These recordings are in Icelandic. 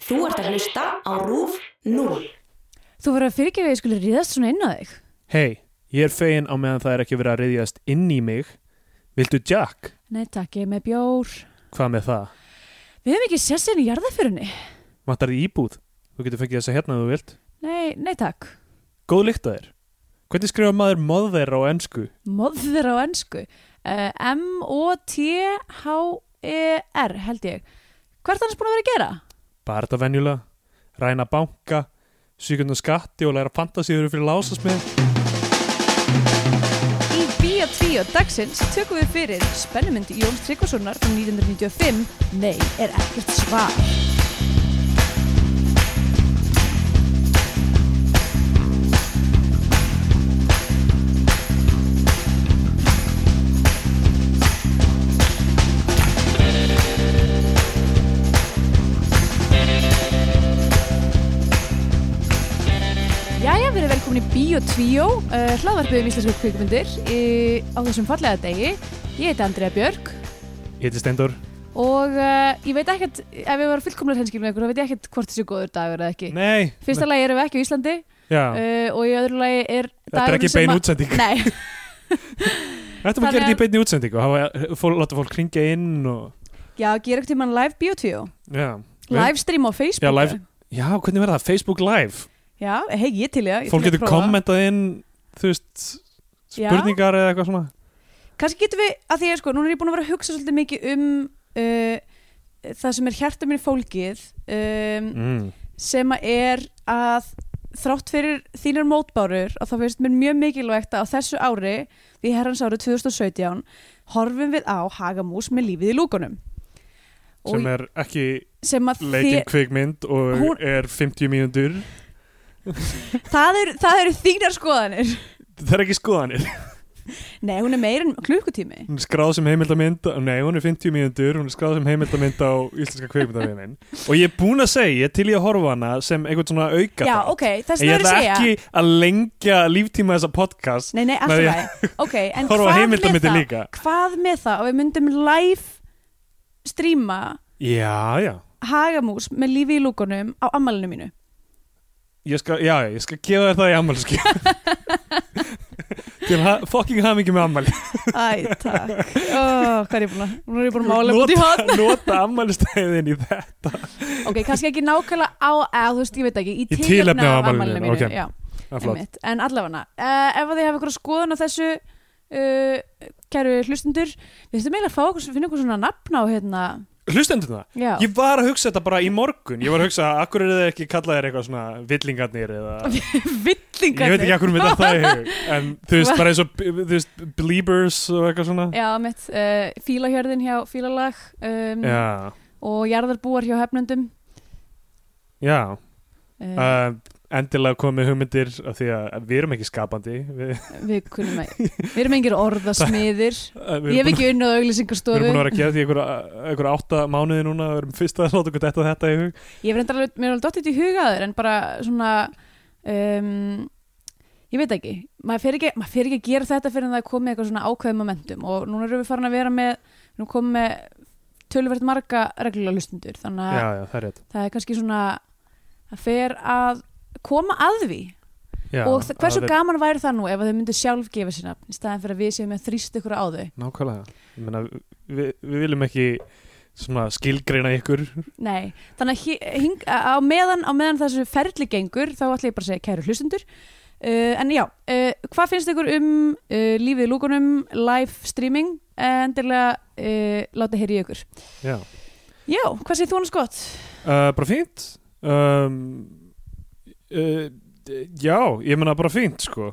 Þú ert að hlusta á RÚF 0. Þú verður að fyrirgefa að ég skulle ríðast svona inn á þig. Hei, ég er fegin á meðan það er ekki verið að reyðjast inn í mig. Viltu Jack? Nei, takk, ég er með bjór. Hvað með það? Við hefum ekki sérst sérn í jarðaförunni. Vantar þið íbúð? Þú getur fengið þessa hérna ef þú vilt. Nei, nei takk. Góð lykt að þér. Hvernig skrifa maður mother á ennsku? Mother á ennsku. Uh, M-O-T-H-E-R E held ég. Hvað er það búin að vera að gera? Bara þetta venjulega. Ræna banka, sykjum og skatti og læra fantasíður fyrir lásasmið. Í Bíó 2 dagsins tökum við fyrir spennumynd Jóns Tryggvasonar frá 1995 Nei, er ekkert svar. Jæja, við erum velkomin í Bíó 2, uh, hlaðvarpið um íslensku kvikmyndir í, á þessum fallega degi. Ég heiti Andrea Björk Ég heiti Steindor. og uh, ég veit ekkert, ef við varum fullkomlega hreinskilin með ykkur, þá veit ég ekkert hvort þessi góður dagur eða ekki. Nei. Fyrsta lagi erum við ekki á Íslandi Já, uh, og í öðru lagi er þetta er dagurinn ekki bein sem að- útsending. Nei, Þetta maður Þannig gerir þetta í að- beinni útsendingu. Hafa, fól, láta fólk ringja inn og... já, gera eitthvað tímann live Bíó 2, Já. live stream á Facebook. Já, live- Já, hvernig verða það? Facebook Live. Já, hei, ég til ég. ég Fólk til í að getur prófa. kommentað inn, þú veist, Já. spurningar eða eitthvað svona. Kanski getum við, að því að sko, núna er ég búin að vera að hugsa svolítið mikið um uh, það sem er hjarta mér fólkið um, Mm. sem að er að þrátt fyrir þínar mótbárur og þá finnst mér mjög mikilvægt að á þessu ári því herrans árið 2017 horfum við á Hagamús með lífið í lúkunum sem er ekki sem að leikin kvikmynd og Hún- er 50 mínútur þið, það, er, það eru þínar skoðanir það er ekki skoðanir, nei, hún er meira en klukkutími hún er skráð sem heimildamind nei, hún er 50 mínútur, hún er skráð sem heimildamind á íslenska kvikmyndavinin og ég er búin að segja, ég er til í að horfa á hana sem einhvern svona auka já, þátt. ok, þess en að ég það er að ætla segja ekki að lengja líftíma þessa podcast nei, nei, Nei, alltaf ég- það ok, en horfa á hvað með heimildamindir það líka hvað með það að við myndum live stríma já, já Hagamús með lífi í lúkunum á ammalinu mínu Ég skal, já, já, ég skal gefa þér það í ammælski Til ha fucking hamingi með ammæli Æ, takk oh, Hvað er ég búin að, nú er ég búin að mála út í hot Nota, nota ammælstæðin í þetta Ok, kannski ekki nákvæmlega á, eða þú veist, ég veit ekki Í, Í tilefni tilefni af af afmælinu ammælinu mínu, mínu ok. já, Það er flott. einmitt, En allavega, uh, ef að þið hafa eitthvað skoðun á þessu uh, Kæru hlustundur Við þurfum eiginlega að fá okkur, finna okkur svona nafn á hérna Hlustendur það? Já, Ég var að hugsa þetta bara í morgun Ég var að hugsa, akkur eru þið ekki kallað þér eitthvað svona villingarnir eða Ég villingar veit ekki akkur með það það í hug En þú veist, bara eins og þú veist, bleebers og eitthvað svona Já, mitt, uh, fílahjörðin hjá fílalag um, Já, Og jarðarbúar hjá hefnendum já uh, uh, Endilega komið hugmyndir af Því að við erum ekki skapandi Við, Við kunum að, við erum engir orðasmiðir uh, Ég hef við, erum, búin, ekki unnað við auglýsingastofu erum búin að vera að gera því einhver, einhver átta mánuði núna Við erum fyrst að láta okkur þetta þetta í hug Ég verði alveg, mér er alveg dottið í hugaður en bara svona um, ég veit ekki maður fer ekki, maður fer ekki að gera þetta fyrir en það er komið eitthvað svona ákveðum momentum og núna erum við farin að vera með nú komum með töluvert marga reglulega hlustundur þannig að Já, já, það er rétt það er kannski svona að fer að koma að því já, og þa- hversu það er- gaman væri það nú ef að þau myndu sjálf gefa sér nafn í staðan fyrir að við séum að þrýst ykkur á þau Nákvæmlega Ég meina, við, við viljum ekki svona skilgreina ykkur Nei, þannig að hi- hing, á, meðan, á meðan þessu ferli gengur þá ætla ég bara að segja kæru hlustendur uh, en já, uh, hvað finnst ykkur um uh, lífið í lúkunum, live streaming endilega uh, láta heyri ykkur Já Já, hvað segir þú annars gott? Uh, bara fínt um, uh, d- Já, ég meina bara fínt sko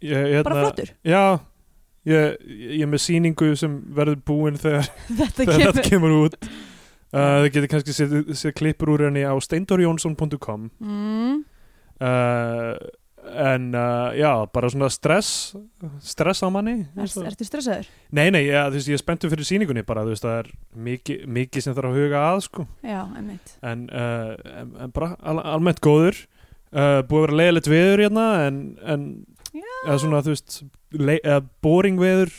ég, ég, hérna- Bara flottur Já, ég, ég er með sýningu sem verður búin þegar, Þetta þegar kemur þetta kemur út uh, Það getur kannski séð sé klippur úr henni á steindorjónsson.com mm, uh, En uh, já, bara svona stress stress á manni er, veist það? Ertu stressaður? Nei, nei, ég, þú veist, ég er spenntur fyrir sýningunni bara, þú veist, það er mikið, mikið sem þarf að huga að sko Já, einmitt en, uh, en, en bara al almennt góður uh, búið að vera leiðilegt veður hérna en, en Já. eða svona þú veist lei- eða boring veður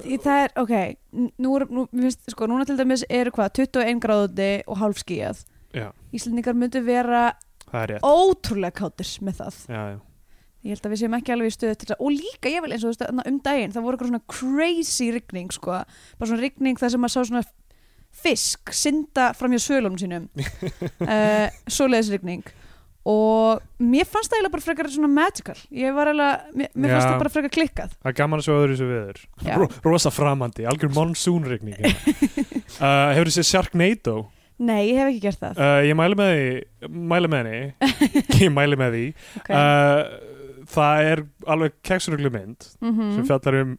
Í- Það er, ok, n- nú, er- nú, mér finnst, sko, núna til dæmis eru hvað, 21 gráði og hálfskíjað Já. Íslendingar myndu vera það er rétt ótrúlega kátir með það já, já. Ég held að við séum ekki alveg í stöðu til það og líka ég vil eins og þú veist þarna um daginn það voru eitthvað svona crazy rigning sko bara svona rigning þar sem maður sá svona fisk synda fram hjá svölunum sínum uh, svoleiðis rigning og mér fannst það eiginlega bara frekar svona magical ég var eiginlega, mér, mér fannst Já. það bara frekar klikkað það er gaman að sjá öðru þessu veður Já. Ro, rosa framandi, algjör monsoonregning uh, hefur þessi Sharknado Nei, ég hef ekki gert það uh, ég mæli með því mæli með henni ég mæli með því okay. uh, það er alveg keksuruglu mynd mm sem fjallar um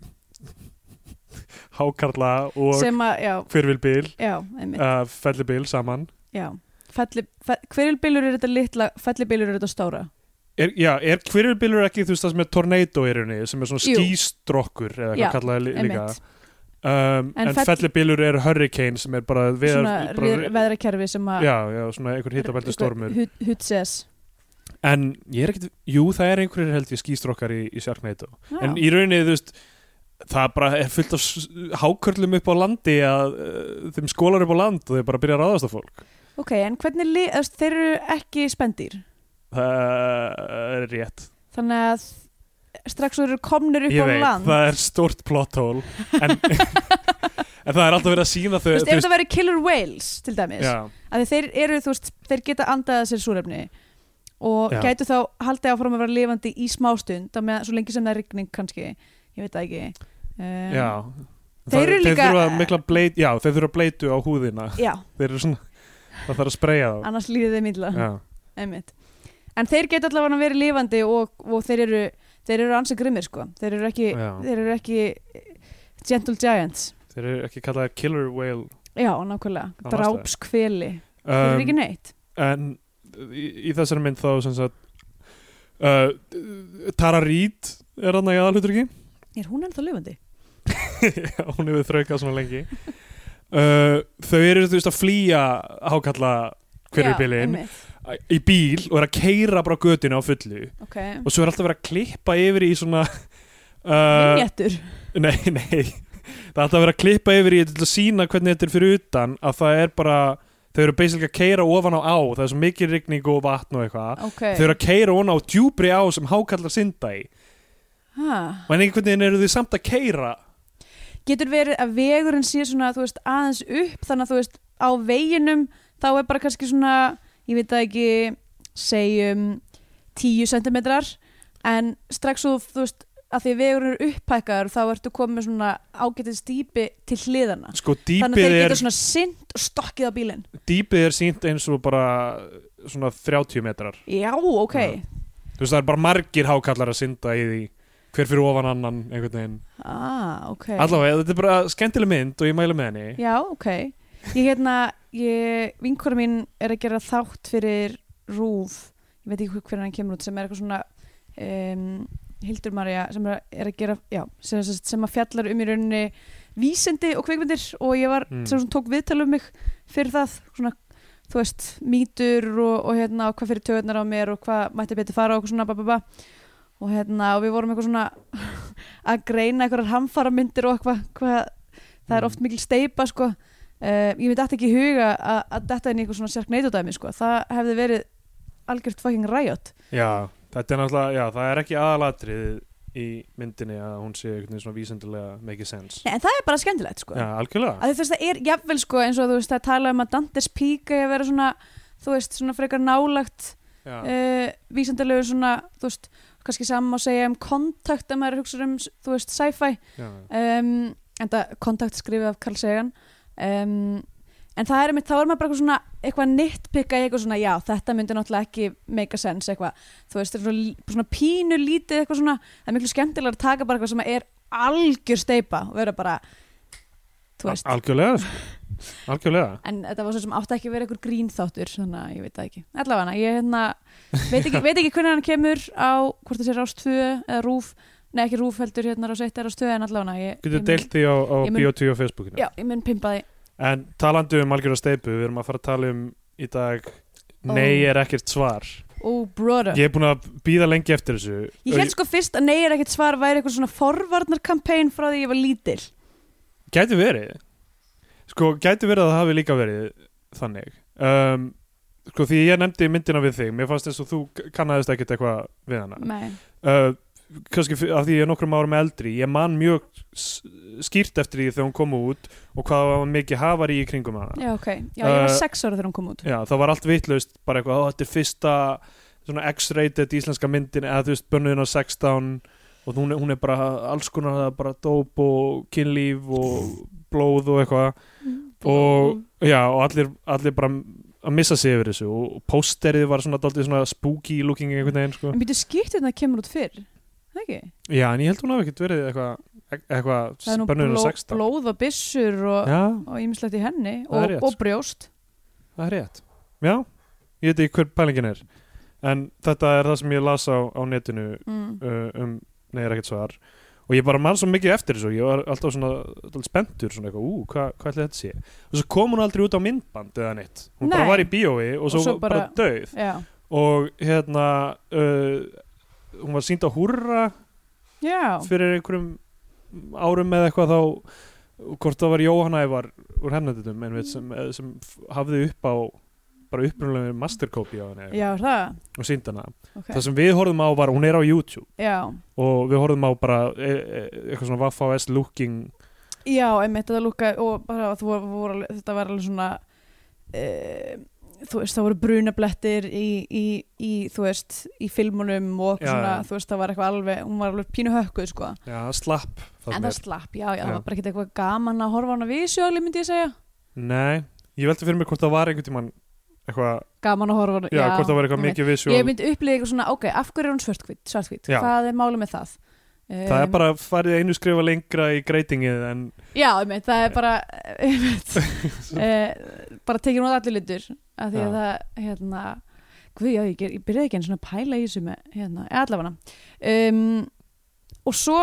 hákarla og sem... sem að, já, hvirvilbil já, einmitt uh, fellibil saman já. Felli, fe, hverjulbylur er þetta litla fellibylur er þetta stóra er, já, er hvirvilbilur ekki þú veist það sem er tornado í rauninni sem er svona Jú. skýstrokkur eða Já, hvað kallaði li, líka einmitt. um, En en, fell- fellibilur er hurricane sem er bara, veðar- svona bara re- veðrakerfi sem að já, já, svona einhver hittabælti stormur Hutses en ég er ekkit, jú það er einhverjir held ég skýstrokkar í, í Sharknado en í rauninni þú veist það bara er fullt af s- hákörlum upp á landi að uh, þeim skólar upp á land og þeir bara byrja að ráðast á fólk Ok, en hvernig lið, þú veist, þeir eru ekki spendýr það er rétt þannig að strax þú eru komnir upp á ég veit, land það er stort plot hole en, en það er alltaf verið að sína þau Þú veist, ef það væri killer whales til dæmis já, að þeir eru, þú veist, þeir geta andað að sér súrefni og Já. gætu þá haldið áfram að vera lifandi í smástund á meðan, svo lengi sem það er rigning kannski ég veit það ekki um, já. Þeir Það- eru þeir líka- þurfa mikla bleit, já, þeir þurfa bleitu á húðina já, þeir eru svona, það þarf að spreja þá annars líðið þeim illa já, einmitt. En þeir geta allavega verið lifandi og, og þeir eru, þeir eru ansi grimmir sko. þeir eru ekki, Já. þeir eru ekki eh, gentle giants þeir eru ekki kallaðið killer whale Já, nákvæmlega, Á drápskveli Þeir eru um, ekki neitt en í, í þessari mynd þá sem sagt uh, Tara Reid er hann í aðalhutur ekki Er hún ennþá lifandi? hún hefur þraukað svona lengi uh, þau eru þú veist að flýja hákalla hverjubilin Já, einmitt. í bíl og er að keira bara götinu á fullu ok og svo er alltaf verið að klippa yfir í svona uh, Vignettur nei, nei það er alltaf verið að klippa yfir í þetta til að sína hvernig þetta er fyrir utan að það er bara þau eru basically að keira ofan á á það er svo mikil rigning og vatn og eitthvað Ok Þau eru að keira hún á djúbri á sem hákallar synda í ha. En einhvern veginn eru þau samt að keira Getur verið að vegurinn sé svona þú veist, aðeins upp þannig að þú veist á veginum þá er bara kannski svona ég veit það ekki segjum 10 sentimetrar en strax svo þú veist að því að vegurinn eru upphækkaður þá ertu komið með svona ágætið stýpi til hliðana Sko þannig að dýpið þeir er, geta svona synd og stokkið á bílinn dýpið er sínt eins og bara svona 30 metrar Já, ok Já. Þú veist það er bara margir hákallar að synda í því Hver fyrir ofan annan einhvern veginn Ah, ok. Allavega þetta er bara skemmtileg mynd og ég mælu með henni Já, ok. Ég hérna, ég, vinkora mín er að gera þátt fyrir Rúf, ég veit ekki hvernig hann kemur út, sem er eitthvað svona um, Hildur Marja, sem er, er að gera, já, sem, sem, sem að fjallar um í rauninni vísindi og kveikmyndir og ég var, Mm. sem svona tók viðtal um mig fyrir það, svona, þú veist, mýtur og, og hérna, og hvað fyrir töðunar á mér og hvað mætti betur fara og eitthvað svona, ba, ba, ba. Og hérna, og við vorum eitthvað svona að greina einhverjar hamfaramyndir og eitthvað, hvað það er Mm. oft mikil steipa sko. uh, ég myndi alltaf ekki í huga að, að detta inn í eitthvað svona sérkneitudæmi sko. það hefði verið algjört fucking ræjot Já, þetta er náttúrulega, já það er ekki aðalatrið í myndinni að hún sé einhvern veginn svona vísindilega make sense en það er bara skemmtilegt sko. Já, algjörlega að þess að það er jafnvel sko, eins og þú veist að tala um að Dantes píka að vera svona þú veist svona frekar nálagt Já, uh, vísandalegu svona þú veist kannski saman að segja um kontakt að maður hugsa um þú veist sci-fi já, um, en það kontakt skrifið af Carl Sagan um, en það er einmitt, þá er maður bara eitthvað svona eitthvað nitpikka í eitthvað svona, já, þetta myndi náttúrulega ekki make a sense eitthvað, þú veist, þetta er svona, svona pínu lítið eitthvað svona, það er miklu skemmtilega að taka bara eitthvað sem er algjör steipa og vera bara, þú veist algjörlega sko. Algjörlega en þetta var svo sem átti ekki að vera eitthvað grínþáttur þannig að ég veit það ekki, allavega hana ég hérna, veit ekki, veit ekki hvernig hann kemur á, hvort það sé rást 2 eða rúf, nei ekki rúf heldur hérna rást 1 eða rást 2 en allavega hana ég, Getur ég mun- deilt því á, á ég mun- Biotvíu og Facebookinu Já, ég mun pimpa því En talandi um algjörða steipu, við erum að fara að tala um í dag Ó. Nei er ekkert svar Oh brother Ég er búin að býða lengi eftir þessu Ég held sko fyrst að nei er ekkert svar væri eitthvað svona forvarnarkampæn frá því ég var lítil Gæti verið Sko, gæti verið að það hafi líka verið þannig um, sko því ég nefndi myndina við þig mér fannst þess að þú kannaðist ekkert eitthvað við hana Nei, uh, kannski fyr- af því ég er nokkrum árum eldri ég man mjög s- skýrt eftir því þegar hún kom út og hvað var mikið hafari í kringum hana já ok Já, ég var Uh, sex ára þegar hún kom út Já, það var allt vitlaust bara eitthvað, "Ó, þetta er fyrsta svona X-rated íslenska myndin eða þú veist, bönnuðin á 16 og hún er, hún er bara alls konar það er bara dóp og kynlíf og blóð og eitthvað Mm. og, já, og allir, allir bara að missa sig yfir þessu og pósterið var svona, dálítið svona spooky looking einhvern veginn sko. En býtu skýrt þetta kemur út fyrr Það ekki? Já, en ég held hún hafi ekkert verið eitthvað eitthvað Það er nú spönnurinn bló, á 16 blóð og byssur og, Já, og ímislegt í henni Það er og, rétt, og sko. brjóst það er rétt Já, ég veit ekki hver pælingin er en þetta er það sem ég las á, á netinu mm. uh, um, nei, er ekkert svar og ég bara mann svo mikið eftir þessu ég var alltaf svona, alltaf spenntur svona eitthvað, ú, hvað hva ætli þetta sé og svo kom hún aldrei út á myndband eða neitt hún Nei. bara var í bíói og svo, svo bara, bara- dauð Já, og hérna uh, hún var sínd á húrra já fyrir einhverjum árum eða eitthvað þá hvort það var Jóhanna Ævar úr hefnendutum en Mm. við sem, eh, sem f- hafði upp á bara upprunlega mastercopy á henni Já, er það, og sínd hana ok það sem við horfðum á var, hún er á YouTube Já, og við horfðum á bara e- e- eitthvað svona Waffa S looking já, einmitt þetta lúka og bara þú voru, voru alveg- þetta var alveg svona e, þú veist, það voru brunablettir í, í, í, þú veist, í filmunum og Já, eitthvað svona, já. þú veist, það var eitthvað alveg hún var alveg pínu hökkuð, sko já, slapp En það er, slapp, já, já, Já. það var bara ekkert eitthvað gaman að horfa á hana vísjóli, myndi ég segja nei, ég veldi fyrir mig hvort það var einhvern tímann eitthvað, Gaman að horfa á hana, já, hvort það var einmitt. eitthvað mikið visual Ég myndi upplýða eitthvað svona, ok, af hverju er hún svartkvít, svartkvít, Já. hvað er málið með það? það er Em, bara farið einu skrifa lengra í greitingið en Já, einmitt, það er bara, einmitt, uh, bara tekið hún á allir litur, af því að Já. það, hérna, guð, já, ég, ger, ég byrjaði ekki einu svona að pæla í þessu með, hérna, eða allavega Um, og svo,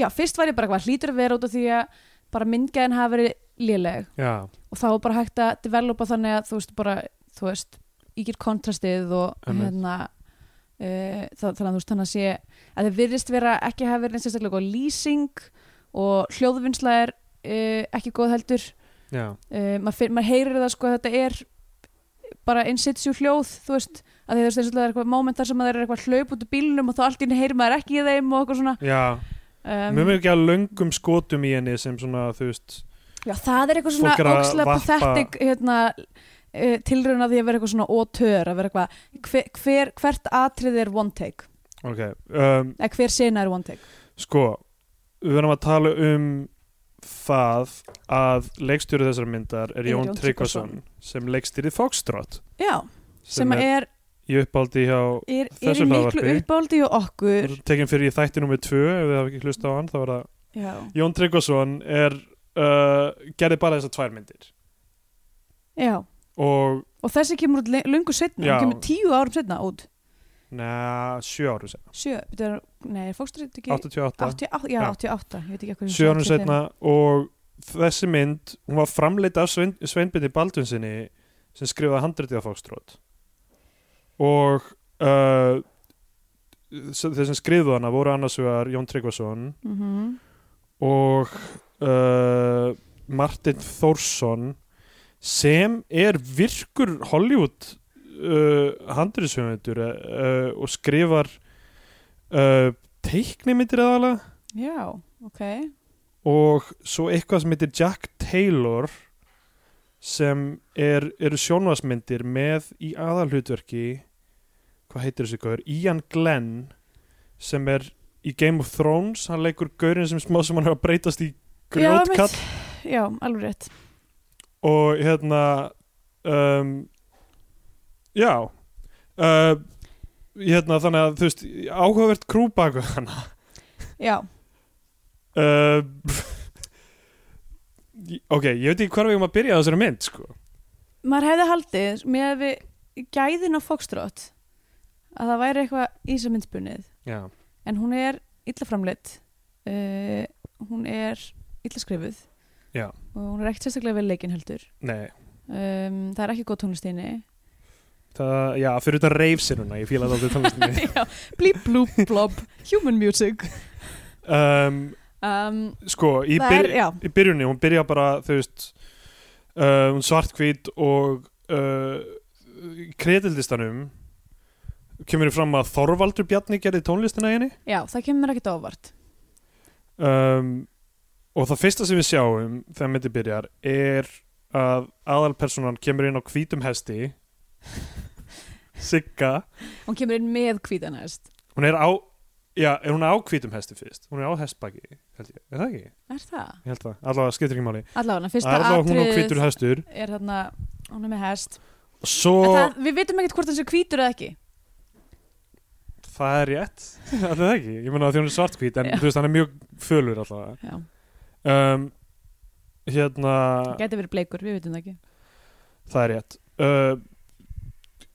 já, fyrst var ég bara hvað hlýtur að vera út af því að bara myndgæðin hafa verið léleg já, og þá var bara hægt að developa þannig að þú veist bara, þú veist ígjur kontrastið og Einmitt. hérna uh, þá- þannig að þú veist þannig að sé að það virðist vera ekki hafa verið neitt sérstaklega góð lýsing og hljóðvinnsla er uh, ekki góð heldur já, uh, maður, finn, maður heyrir það sko að þetta er bara in situ hljóð þú veist, að því þú veist eins og það er eitthvað momentar sem að það er eitthvað hlaup út úr bílnum og þá allt í henni heyrir maður ekki í þeim og eitthvað svona já mjög um, mikið að löngum skotum í henni sem svona, þú veist já, það er eitthvað Fólk er svona að ókslega varpa- pathetic hérna, uh, tilraun að því að vera eitthvað svona ótör að vera eitthvað, hver, hver, hvert atrið er one take, ok, um, eða hver sena er one take sko við verðum að tala um það að leikstjóri þessar myndar er Jón Tryggvason sem leikstýrið Foxtrot já, sem, sem er er, í uppáldi hjá er, er þessu í miklu hlaðvarpi. uppáldi og okkur tekin fyrir í þætti nummið tvö ef við hafa ekki hlusta á hann þá var það já, Jón Tryggvason er uh, gerði bara þessar tvær myndir já, og og þessi kemur út le- löngu setna, Já. hún kemur tíu árum setna út na, sjö árum setna Sjö, byrju, er- nei, er fókstrið ekki 88, 88, já, Já. 88, ég veit ekki hvað sjö árum setna og þessi mynd hún var framleitt af Svein, Sveinbindi Baldvinsinni sem skrifaði handritið af Fókstrót og uh, s- þeir sem skrifuð hana voru annars vegar Jón Tryggvason mm -hmm. og uh, Martin Þórsson sem er virkur Hollywood uh, handriðshöfundur uh, og skrifar uh, teiknimyndir aðalega Já, ok og svo eitthvað sem heitir Jack Taylor sem er, eru sjónvarsmyndir með í aðalhutverki hvað heitir þessi gaur? Ian Glenn sem er í Game of Thrones hann leikur gaurinn sem smá sem hann er að breytast í grjótkall Já, alveg rétt og hérna um, já uh, hérna þannig að þú veist áhugavert krú baku hann Já, uh, ok, ég veit ekki hvar við erum að byrja á þessari mynd sko. maður hefði haldið með að við gæðin á fókströð að það væri eitthvað í sem myndspunnið já, en hún er illa framleitt uh, hún er illa skrifuð Já. og hún er ekkert sérstaklega vel leikin heldur nei um, það er ekki góð tónlistinni það, já, fyrir utan reyfsinuna, ég fíla það aldrei tónlistinni Já, blíp, blúp, blob, human music um, um, sko, í, Það byr, er, já. í byrjunni hún byrja bara, þú veist um, svartkvít og uh, kredildistanum kemur þér fram að Þorvaldur Bjarni gerði tónlistina í henni já, það kemur mér ekkert á óvart um, og það fyrsta sem við sjáum þegar myndi byrjar er að aðalpersonan kemur inn á hvítum hesti Sigga hún kemur inn með hvítanhest hún er á, já, er hún á hvítum hesti fyrst hún er á hestbaki, held ég, er það ekki? er það? ég held það, allavega skiptir ekki máli allavega, fyrsta allavega hún á atriðið hvítur hestur er þarna hún er með hest svo, En það, það, við veitum ekkert hvort hann sé hvítur eða ekki er rétt allavega ekki, ég meina að því hún er svartkvít en Já. þú veist, hann er mjög fölur allavega já, um, hérna hann gæti verið bleikur, við veitum það ekki það er rétt uh,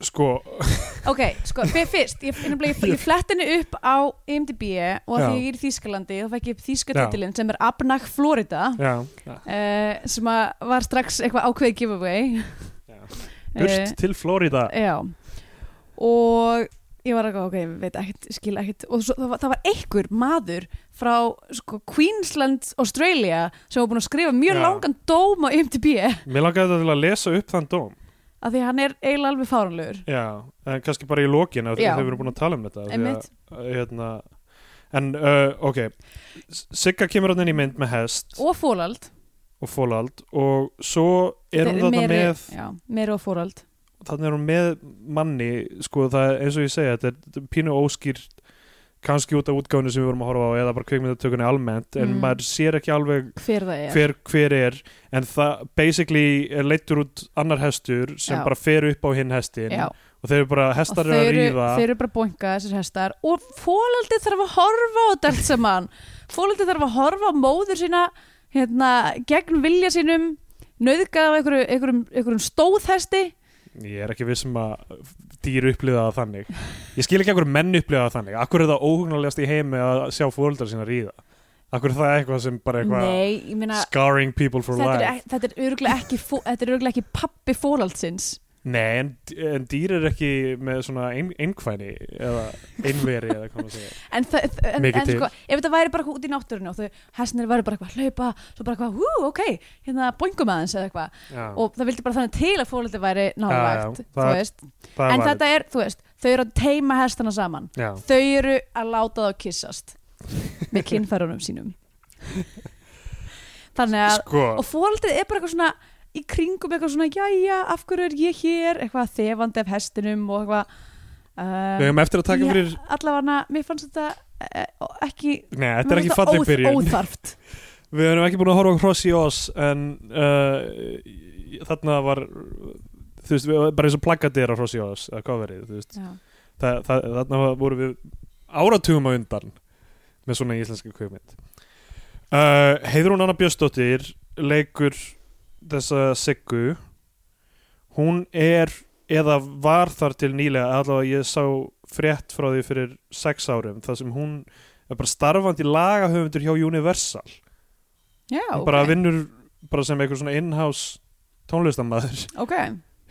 sko, ok, sko, fyr- fyrst, ég, ég, ég, ég flett henni upp á IMDb og að Já. því ég er í Þýskalandi þá fæk ég upp þýska Já. titilinn sem er Abnach Florida já, já, uh, sem að var strax eitthvað ákveðið giveaway já. Eh, burt til Flórida Já og ég var eitthvað, ok, ég veit ekkert, skil ekkert og svo, það, var, það var einhver maður frá sko, Queensland, Australia sem var búin að skrifa mjög Já. langan dóm á IMDb af mér langaði þetta til að lesa upp þann dóm því að hann er eiginlega alveg fáranlegur já, en kannski bara í lokin af því Já. að þau eru búin að tala um þetta af því Einmitt. að, hérna, en uh, ok S- Sigga kemur hann inn í mynd með hest og fórald og fólald og svo er hún þarna með já, meiri og fórald þannig er hún með manni sko það er eins og ég segja þetta er, þetta er pínu óskýr kannski út af útgáfinu sem við vorum að horfa á eða bara kveikmyndatökunni almennt en Mm. maður sér ekki alveg hver það er hver, hver er en það basically er leittur út annar hestur sem Já. bara fer upp á hinn hestin Já, og þeir eru bara og hestar þeir eru að eru, ríða þeir eru bara bónga þessir hestar og fólaldið þarf að horfa á þetta allt saman fólaldið þarf að horfa á móður sína hérna, gegn vilja sínum nöðgað af einhverju, einhverjum, einhverjum stóðhesti ég er ekki vissum að dýr upplifa það þannig ég skil ekki akkur menn upplifa það þannig akkur er það óhugnulegast í heimi að sjá fóreldrar sína ríða akkur er það eitthvað sem bara eitthvað Nei, ég meina scarring people for þetta er, life ek- þetta er örugglega ekki, fó- þetta er örugglega ekki pappi fólaldsins Nei, en, en dýr er ekki með svona ein, einkvæni eða einveri eða hvað maður segja. en, það- en, Mikið en til. sko, ef þetta væri bara eitthvað út í náttúrunni og þau hestinir væri bara eitthvað að hlaupa svo bara eitthvað, hú, ok, hérna bóngum aðeins eða eitthvað Já, og það vildi bara þannig til að fólaldið væri nálægt, Já, já, þú það- veist það en var- þetta er, þú veist, þau eru að teima hestana saman Já, þau eru að láta þá kissast með kynfærunum sínum þannig að sko, og fórhaldið er bara eitthvað svona í kringum eitthvað svona, jæja, af hverju er ég hér eitthvað þefandi af hestinum og eitthvað uh, við höfum eftir að taka fyrir... allavega, mér fannst þetta uh, ekki Nei, þetta mér er ekki fannst falleg óþ- byrjun. óþarft, Við höfum ekki búin að horfa á Hross í oss en uh, þarna var, þú veist, við, bara eins og plaggatir á Hross í oss, eða hvað verið, þú veist. Já. það, það, þarna voru við áratugum á undan með svona íslenska kveikmynd uh, Heiðrún Anna Björnsdóttir leikur þessa Siggu hún er eða var þar til nýlega allavega ég sá frétt frá því fyrir sex árum þar sem hún er bara starfandi lagahöfundur hjá Universal já, Hún ok, bara vinnur bara sem einhver svona in-house tónlistamæður ok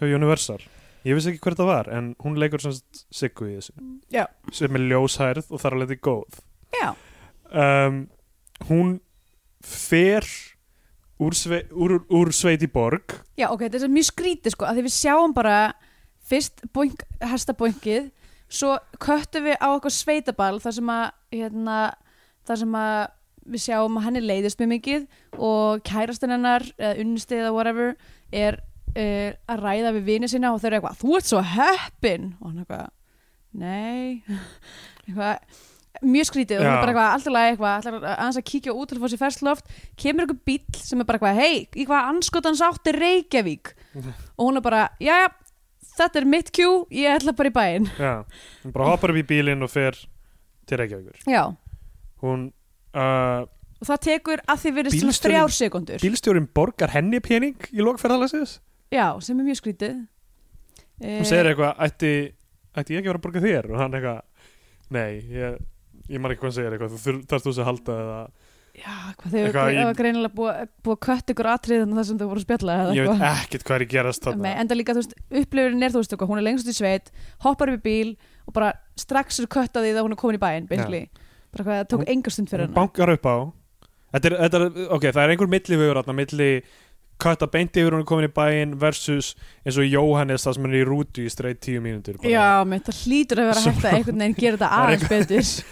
hjá Universal ég vissi ekki hver það var en hún leikur sem sagt Siggu í þessu já, sem er ljóshærð og þar að leiti góð já, um, hún fer úr, sve, úr, úr sveit í borg já, ok, þetta er mjög skrítið sko, að því við sjáum bara fyrst boink, hestabónkið svo köttum við á eitthvað sveitaball þar sem að, hérna, þar sem að við sjáum að henni leiðist mjög mikið og kærastan hennar eða unnustið eða whatever er uh, að ræða við vini sína og þau eru eitthvað, þú ert svo heppin og hann eitthvað, nei eitthvað mjög skrítið og hún Já. er bara eitthvað alltaf lagi eitthvað ætlar aðeins að kíkja út til að fá sér ferskloft kemur eitthvað bíll sem er bara eitthvað hei, í hvað anskotans átti Reykjavík og hún er bara, jæja þetta er mitt kjú, ég ætla bara í bæinn Já. hún bara hoppar upp í bílinn og fer til Reykjavíkur já, hún, uh, og það tekur að því verið svona Bílstjórinn- þrjár sekundur bílstjórin borgar henni pening í lokferðalagsins já, sem er mjög skrítið Eh. hún segir eitthvað, ætti, ætti ég ekki að vera að borga þér og hann eitthvað, nei ég, ég maður ekki hvað hann segir eitthvað þú þarfst þú þess að halda eða já, hvað þau Eitthvað það í- var greinilega búið búið að kött ykkur atrið þannig það sem þau voru að spjalla eða ég eitthvað. veit ekkert hvað er að gerast Nei, þarna enda líka, þú veist, upplifurinn er þú veist eitthvað, hún er lengst út í sveit, hoppar upp í bíl og bara strax er kött að því að hún er komin í bæinn basically, bara hvað, það tók Hún- enga stund fyrir hún hennar bankar upp á þetta er, þetta er, ok, það er einhver millivegur þarna, milli kvæta beint yfir hún er komin í bæinn versus eins og Jóhannes það sem hann er í rútu í streitt tíu mínútur bara. Já, mér það hlýtur að vera Sem- hægt að einhvern veginn gera þetta er aðeins betur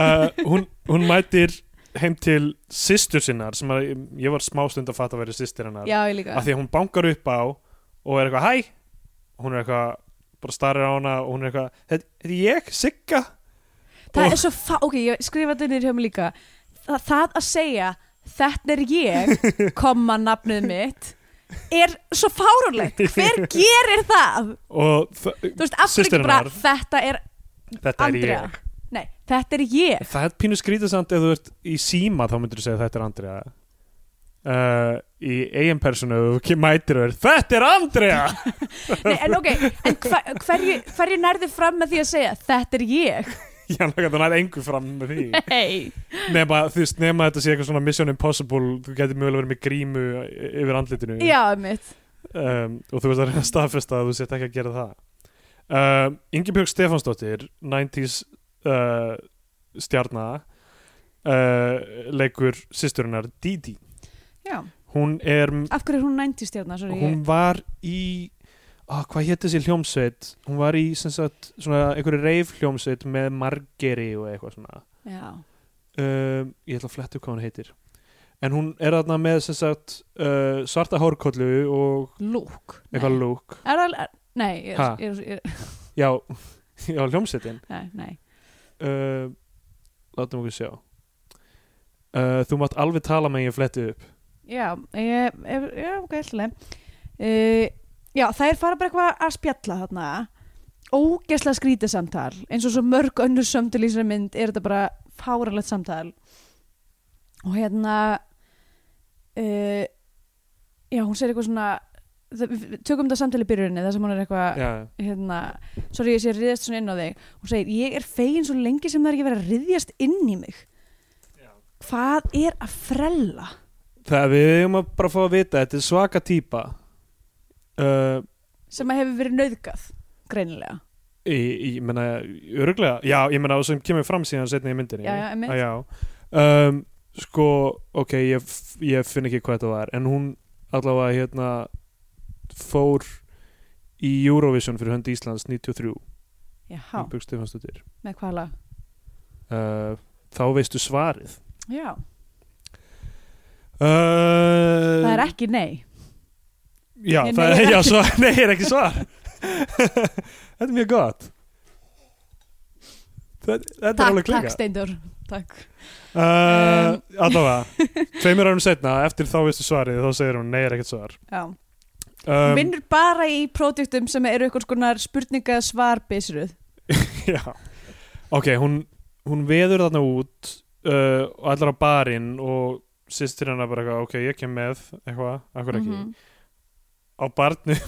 uh, hún, hún mætir heim til systur sinnar sem að, ég var smástund að fatta að vera systur hennar Já, ég líka af því að hún bankar upp á og er eitthvað hæ hún er eitthvað, bara starir á hana og hún er eitthvað, þetta þetta er ég, Sigga Það er svo, fa- ok, ég skrifa þetta niður hjá mig líka Þa, Það að segja, þetta er ég, komma nafnið mitt er svo fáránlegt Hver gerir það? og þa- Þú veist, af hverju Systir ekki bara, hennar. þetta er þetta er Andrea ég Nei, þetta er ég það er pínu skrítið samt ef þú ert í síma þá myndir þú segja þetta er Andrea uh, í eigin personu og þú mætir þér, þetta er Andrea Nei, En ok, en hva, hverju, hverju nærðu fram með því að segja, þetta er ég já, þannig er engu fram með því Hei nema, þú veist, nema þetta sé eitthvað svona Mission Impossible, þú getur mjögulega verið með grímu yfir andlitinu Já, mitt um, og þú veist að reyna að staðfesta að þú sett ekki að gera það um, Ingebjörg Stefansdóttir 90s uh, stjarnar uh, leikur sýsturinnar Didi Já, hún er, af hverju er hún 90 stjarnar, sorry hún var í á, hvað hétt þessi hljómsveit hún var í sem sagt svona einhverju reif hljómsveit með margeri og eitthvað svona ég- Já um, ég ætla að fletta upp hvað hún heitir en hún er þarna með sem sagt uh, svarta hórkollu og Lúk eitthvað Nei. lúk Er það, er, nei, ég, Ha? ég, ég, já, já hljómsveitin nei, nei uh, látum okkur sjá uh, þú mátt alveg tala með ég fletti upp Já, ég, ég, já ok, alltaf uh, Já, það er fara bara eitthvað að spjalla þarna ógesla skrítið samtal eins og svo mörg önnur sömdul í þessari mynd er þetta bara fáralegt samtal og hérna uh, Já, hún segir eitthvað svona það, við- við tökum þetta samtal í byrjunni þar sem hún er eitthvað já, hérna, sorry ég sé að riðjast svona inn á þig hún segir, ég er fegin svo lengi sem það er ekki verið að riðjast inn í mig hvað er að frella það við eigum að bara fá að vita þetta er svaka típa uh, sem að hefur verið nauðgað greinilega, ég, ég meina öruglega, já, ég meina það sem kemur fram síðan setna í myndinni Já, já, einmitt. Að já. Um, sko, ok ég, f- ég finn ekki hvað þetta var en hún allavega hérna fór í Eurovision fyrir hönd Íslands 93 já, Ingeborg Stefansdóttir. með hvala uh, þá veistu svarið já, Uh, það er ekki nei Já, Nei, það nei, er, er já, ekki. svo, nei, er ekki svar Þetta er mjög gott Þetta, þetta er takk, alveg takk klika Steindur takk. uh, Um. Allavega, tveimur árum setna Eftir þá veistu svarið, þá segir hún Nei, er ekkert svar Já. hún um, vinnur bara í próduktum sem eru eitthvað skonar spurninga svarbisruð Já, ok, hún Hún veður þarna út uh, Og allar á barinn Og sýstir hennar bara eitthvað, ok, ég kem með Eitthvað, akkur ekki Mhm. Á barnum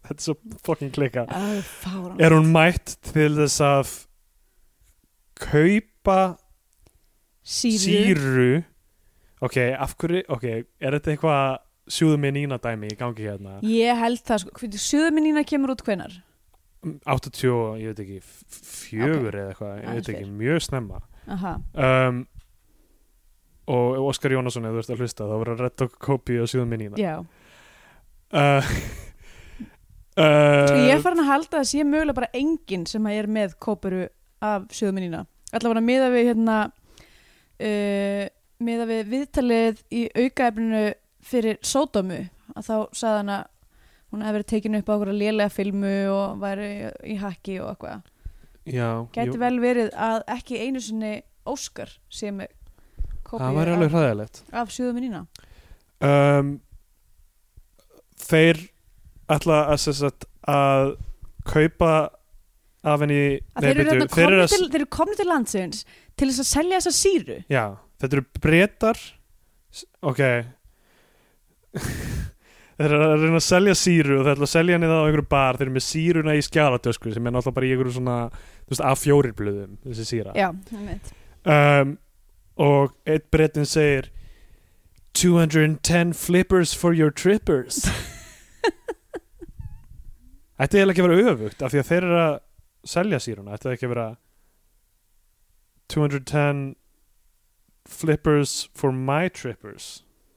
Þetta er svo fucking klika fáránlegt. er hún mætt til þess að kaupa síru, síru ok, af hverju, ok er þetta eitthvað sjúðu mér nýna dæmi í gangi hérna, ég held það sko, hvernig söðuminnina kemur út hvenar 80 og, ég veit ekki f- fjögur eða eitthvað, ég Aðeins veit ekki, fyrr. mjög snemma aha um, og ef Óskar Jónasson ef þú ert að hlusta, þá voru að retta okkur kópi á sjúðu mér nýna Já, uh, sko ég uh, er farin að halda að sé mögulega bara enginn sem að er með kóperu af sjöðuminina. Alla var að miða við hérna uh, miða við viðtalið í aukaefninu fyrir Sódómu að þá sagði hann að hún hefði verið tekinu upp á okkur að lélega filmu og væri í hakki og eitthvað. já, Gæti jú, vel verið að ekki einu sinni Óskar sé með það var kóperu alveg af, hræðilegt af sjöðuminina. um, þeir ætla að, sem sagt, að kaupa af henni Að nei, þeir eru bíddu, hérna komni að- til, þeir eru komnir til landsins til þess að selja þessa síru. já, þetta eru breytar ok þeir eru að reyna að selja síru og þeir ætla að selja henni það á einhverju bar þeir eru með síruna í skjálatösku sem er náttúrulega bara í einhverju svona þú veist, A4 blöðum þessi síra Já, einmitt. um, og eitt breytin segir 210 flippers for your trippers Þetta er ekki að vera öfugt af því að þeir eru að selja síruna Þetta er ekki að vera 210 flippers for my trippers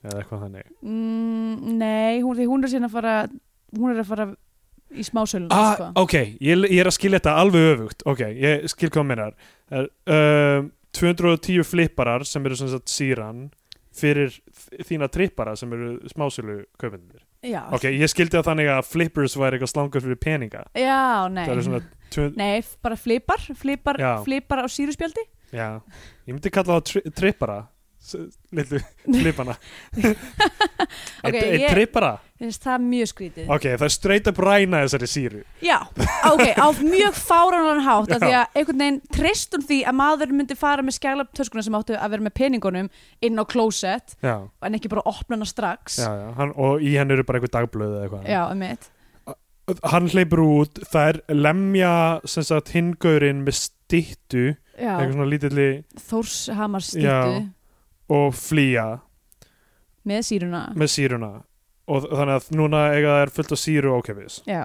eða eitthvað þannig mm, nei, hún, því hún er síðan að fara hún er að fara í smásölun ah, sko. ok, ég, ég er að skilja þetta alveg öfugt ok, ég skil hvað minnar uh, 210 flipparar sem eru sem sagt síran fyrir þ- þína trippara sem eru smásölu kaupendur já, ok, ég skildi það þannig að flippers væri eitthvað slangur fyrir peninga já, nei það eru svona tvö, nei, f- bara flipar, flipar, Já. flipar á síruspjaldi já, ég myndi kalla það tri trippara s- litlu flippana Ok, okay, e, ég- trippara Finnst það mjög skrítið ok, það er straight up ræna þessari síru já, ok, á mjög fáranlan hátt af Já. því að einhvern veginn treystum því að maður myndi fara með skjælaptöskuna sem áttu að vera með peningunum inn á klósett já, en ekki bara opna hana strax já, já, hann, og í henn eru bara eitthvað dagblöð eða eitthvað já um mitt hann hleypur út, það er lemja sem sagt hingaurinn með stýttu eitthvað já, svona lítilli Þórshamar Já. stýttu og flýja með síruna með síruna og þ- þannig að núna eiga það er fullt af síru ákefis Já.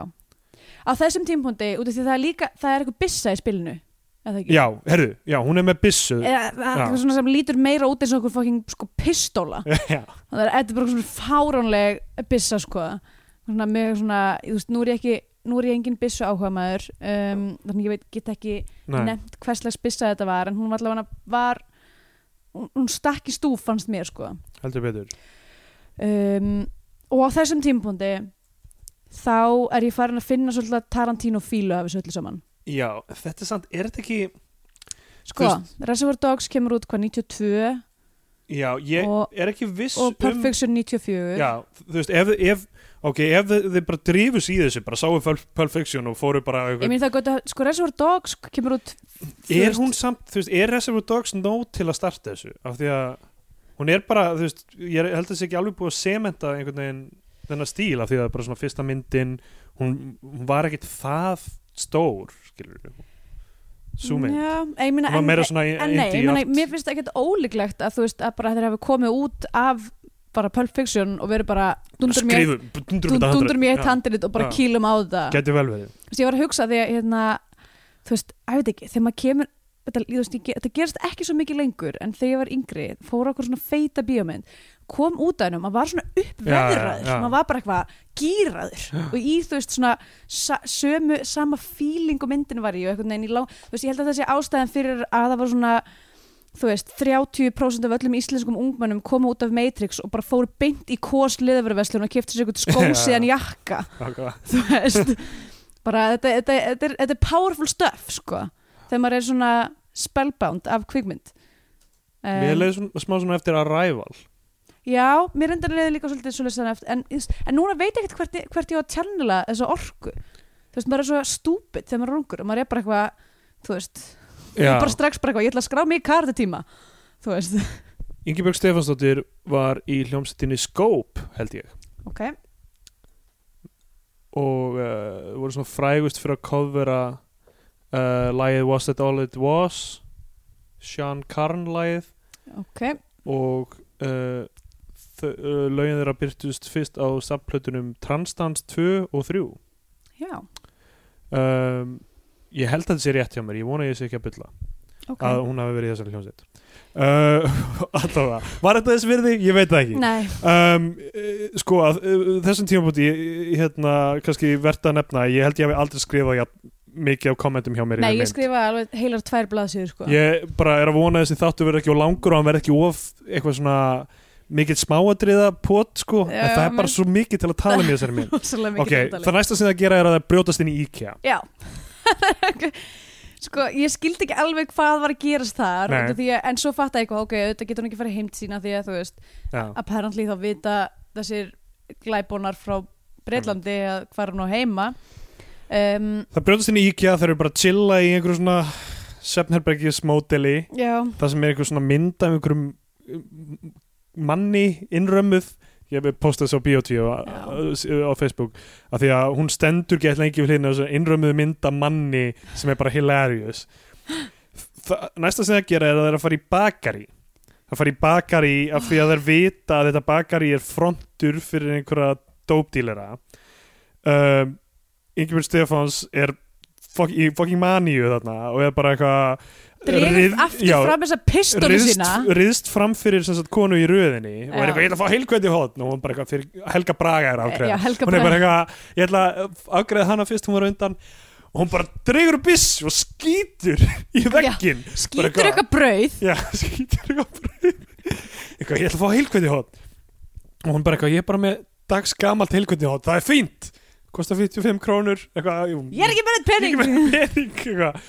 Á þessum tímpúndi, út af því það er líka, það er eitthvað byssa í spilinu, eða ekki? já, herðu, já, hún er með byssu Eða það er eitthvað svona sem lítur meira út eins og okkur fucking sko pistóla. já, Það er eitthvað bara svona fáránleg byssa sko. Svona með svona, þú veist, nú er ég ekki, nú er ég engin byssu áhuga maður, um, þannig ég veit, get ekki nei, nefnt hvers slags byssa þetta var, en hún var allavega var, hún, hún stakk í stúf fannst mér sko. heldur betur um, og á þessum tímpúndi þá er ég farin að finna svolítið Tarantino fílu af þessu öllu saman já, þetta er sant, er þetta ekki sko, Reservoir Dogs kemur út hvað 92 já, ég Og- er ekki viss um- og Perfection 94 Já, þú veist, ef, ef, ok, ef þið, þið bara drifus í þessu, bara sáu Pulp Pulp Fiction og fóru bara ég eitthvað, meni það gott að, sko Reservoir Dogs kemur út er veist- hún samt, þú veist, er Reservoir Dogs nóg til að starta þessu, af því að hún er bara, þú veist, ég er- held að þessi ekki alveg búið að sementa einhvern veginn þennan stíl, af því að það er bara svona fyrsta myndin hún, hún var ekkit það stór, skilur við Súmynd, já, ég meina hún var en, meira svona en nei, ég indie meina, art. mér finnst það ekkert ólíklegt að þú veist að bara þeir hafi komið út af bara Pulp Fiction og verið bara dundur mér Skrifu- dundur mér dundur mér eitt handrit. handrit og bara Já. kýlum á þetta Já, Gæti vel verið Þú veist, ég var að hugsa því að hérna, þú veist, að veit ekki, þegar maður kemur þetta, ég, þú veist, ég, ge- þetta gerist ekki svo mikið lengur en þegar ég var yngri, fór okkur svona feita bíómynd, kom út af hennu maður var svona Já, uppveðraður, já, já. maður var bara eitthvað gýraður og í þú veist svona sa sömu, sama feeling og myndin var í og einhvern veginn í lang, þú veist, ég held að það sé ástæðan fyrir að það var svona þú veist, 30% af öllum íslenskum ungmennum koma út af Matrix og bara fóru beint í kós liðverðverslun og kefti sér eitthvað skósiðan jakka Nákvæmlega. þú veist bara þetta, þetta, þetta, er, þetta er powerful stuff sko, þegar maður er svona spellbound af kvikmynd um, Mér leiði svona, smá svona eftir að ræval já, mér endar leiði líka svolítið svolítið þannig eftir, en, þú veist, en núna veit ég ekkert hvert, ég- hvert ég á að tjannila þessa orku þú veist, maður er svo stúpid þegar maður er ungur og maður er bara eitthvað, þú veist ég er bara strax bara eitthvað, ég ætla að skrá mig í kartetíma þú veist, Ingebjörg Stefansdóttir var í hljómsettinni Scope, held ég ok og uh, voru svona frægust fyrir að covera uh, lagið Was That All It Was Sean Carn lagið ok, og uh, þau- uh, lögin þeirra byrtust fyrst á samplötunum Transdance 2 og 3 já um, ég held að þetta sé rétt hjá mér ég vona að ég sé ekki að bylla ok, að hún hafi verið í þessari hljómsett uh, allavega, var þetta þess virði? ég veit það ekki nei, um, eh, sko að eh, þessum tímabúti hérna kannski verðt að nefna ég held ég hafi aldrei skrifað jafn, mikið af kommentum hjá mér í nei, einu ég mynd. skrifa alveg heilar tvær blaðsýður sko ég bara er að vona að þessi þáttu verði ekki of langur og hann verði ekki of eitthvað svona mikið smáadriða pot sko Já, en það er já, bara mér- svo mikið til að tala um í þessari mynd rosalega mikið ok, tiltalið. það næsta sem það gera er að það brjótast inn í IKEA Já Sko, ég skildi ekki alveg hvað var að gerast þar Nei. út af því að, en svo fatta ég eitthvað, ok, auðvitað getur hún ekki farið heim til sína því að þú veist, já, apparently þá vita þessir glæbónar frá Breitlandi að hvað er hún á heima um, það brjótast inn í IKEA það eru bara að chilla í einhverju svona Svefnherbergis móteli Já, það sem er einhver svona mynd af einhverjum um, manni innrömmuð ég hef postað þessu á Biotíu á, Já. á Facebook af því að hún stendur gett lengi við hlýna þessu innrömmuð mynd af manni sem er bara hilarious Þa, næsta sem það gera er að það er að fara í bakari það fara í bakari af því að það er vita að þetta bakari er frontur fyrir einhverja dópdílera um, Ingemund Stefáns er fokk- í fucking maníu þarna og er bara eitthvað dregur Rið- aftur já, fram þessa pistolu riðst, sína riðst fram fyrir sem sagt, konu í röðinni Já. og er eitthvað, ég ætla að fá heilkvæði hótt og hún bara eitthvað fyrir, Helga Braga er Já, ákveð Helga hún er Braga. bara eitthvað, ég ætla að afgreða hana fyrst hún var á undan og hún bara dregur upp biss og skýtur í veggin Bara skýtur eitthvað brauð Já, skýtur eitthvað bara- eitthvað, ég ætla að fá heilkvæði hótt og hún bara eitthvað, ég er bara með dags gamalt heilkvæði hótt, það er fínt kostar 55 krónur eitthvað, jú, ég er ekki með þetta ekki pening með pening eitthvað.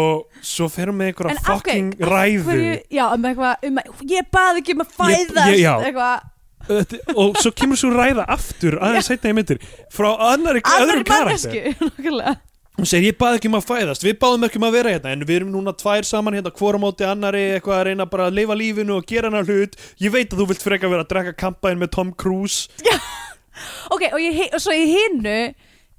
og svo fer hún með einhverja En af hverju- fucking ræðu Hverju- já, um eitthvað, um að, ég baði ekki um að fæðast ég- já. eitthvað, Þetta, og svo kemur svo ræða aftur aðeins seinna í myndir frá annari, annar öðrum karakter mannesku nákvæmlega. hún segir ég bað ekki um að fæðast, við báðum ekki um að vera hérna en við erum núna tvær saman hérna hvora á móti annari eitthvað að reyna bara að lifa lífinu og gera hana hlut ég veit að þú vilt freka vera að drekka kampaðin með Tom Cruise ok, og, ég, hi- og svo í hinnu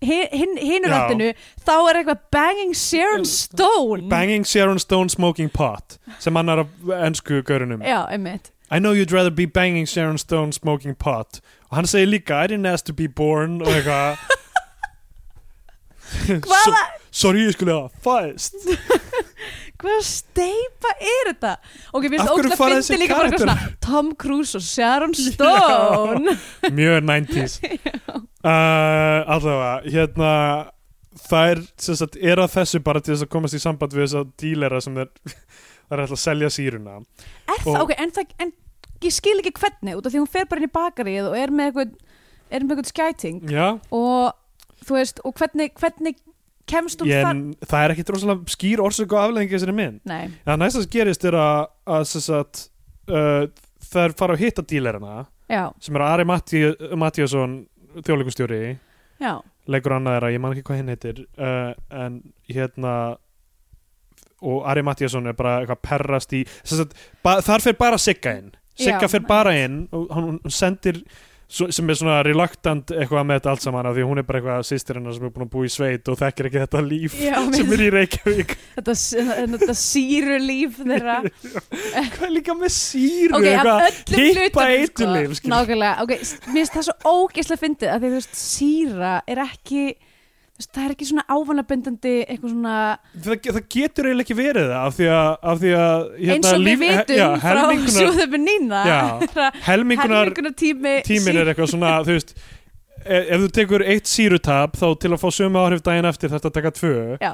hin, hinnu Já. rættinu þá er eitthvað banging Sharon Stone Banging Sharon Stone Smoking Pot sem annar af ennsku görunum já, einmitt I know you'd rather be banging Sharon Stone Smoking Pot og hann segir líka I didn't ask to be born og eitthvað So- hvaða, Sorry, ég skulle hafa fæðst hvaða steipa er þetta ok, mér Af finnst hverju ógst að fara fyndi þessir líka bara eitthvað karakterar? svona Tom Cruise og Sharon Stone mjög 90s uh, allavega, hérna þær sem sagt er að þessu bara til þess að komast í samband við þess að dílera sem þeir þær er alltaf að selja síruna er Og- það, ok, en það en ég skil ekki hvernig, út af því hún fer bara inn í bakarið og er með eitthvað, er með eitthvað skæting já, og þú veist, og hvernig, hvernig kemst hún ég, þar en það er ekkit rosalega skýr orsök og afleðingi þessari mynd nei, það næsta sem gerist er að, að sem sagt uh, þær fara að hitta dílerina já, sem er Ari Mattíasson þjóðleikustjóri já leikur annað þeirra, ég man ekki hvað hinn heitir uh, en hérna og Ari Mattiasson er bara eitthvað perrast í sem sagt, ba, þar fer bara Sigga inn Sigga Já, fer bara inn og hann, hún sendir svo, sem er svona reluctant eitthvað með þetta allt saman af því hún er bara eitthvað sýstir hennar sem er búin að búa í sveit og þekkir ekki þetta líf Já, sem minnst- er í Reykjavík þetta, þetta síru líf þeirra hvað er líka með síru ok, af eitthvað, öllum sko. hippa hlutum eiturlyf, skilur. nákvæmlega, ok, s- mér finnst það svo ógeðslega fyndið að því þú veist, síra er ekki þú veist, það er ekki svona ávanabindandi eitthvað svona, það, það getur eiginlega ekki verið það af því að, af því að hérna, eins og við líf- vitum já, frá helmingunar, sjóðum með nýna Já. helmingunar helmingunar tími tíminn er eitthvað svona þú veist, e- ef, ef þú tekur eitt sírutab þá til að fá sömu áhrif daginn eftir þetta að taka tvö já,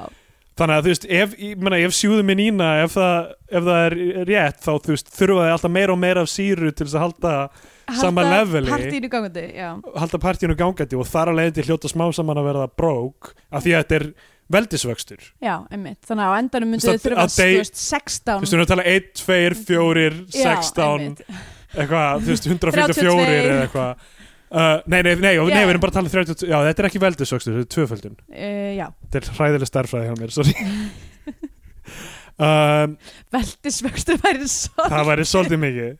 þannig að þú veist, ef, ég meina, ef sjúðu minn ína ef það, ef það er rétt þá þú veist, þurfa þið alltaf meira og meira af síru til þess að halda, Sama halda leveli. partíinu gangandi, já, halda partíinu gangandi og þar að leiðandi hljóta smá saman að verða brók af því að þetta er veldisvöxtur þú já, einmitt þannig að á endanum Þú myndu þau veist, þurfa að að, þú dey- veist, 16 veist, við erum að tala 1, 2, 4, já, 16 einmitt. eitthvað, þú veist, 154 32. eða eitthvað Uh, nei, nei, nei, og- nei, Já. við erum bara að tala um 30, já, þetta er ekki veldisvöxtur, þetta er tvöföldun Eh, já, Þetta er hræðileg starfræði hjá mér, sorry um, veldisvöxtur væri svo Það væri svolítið mikið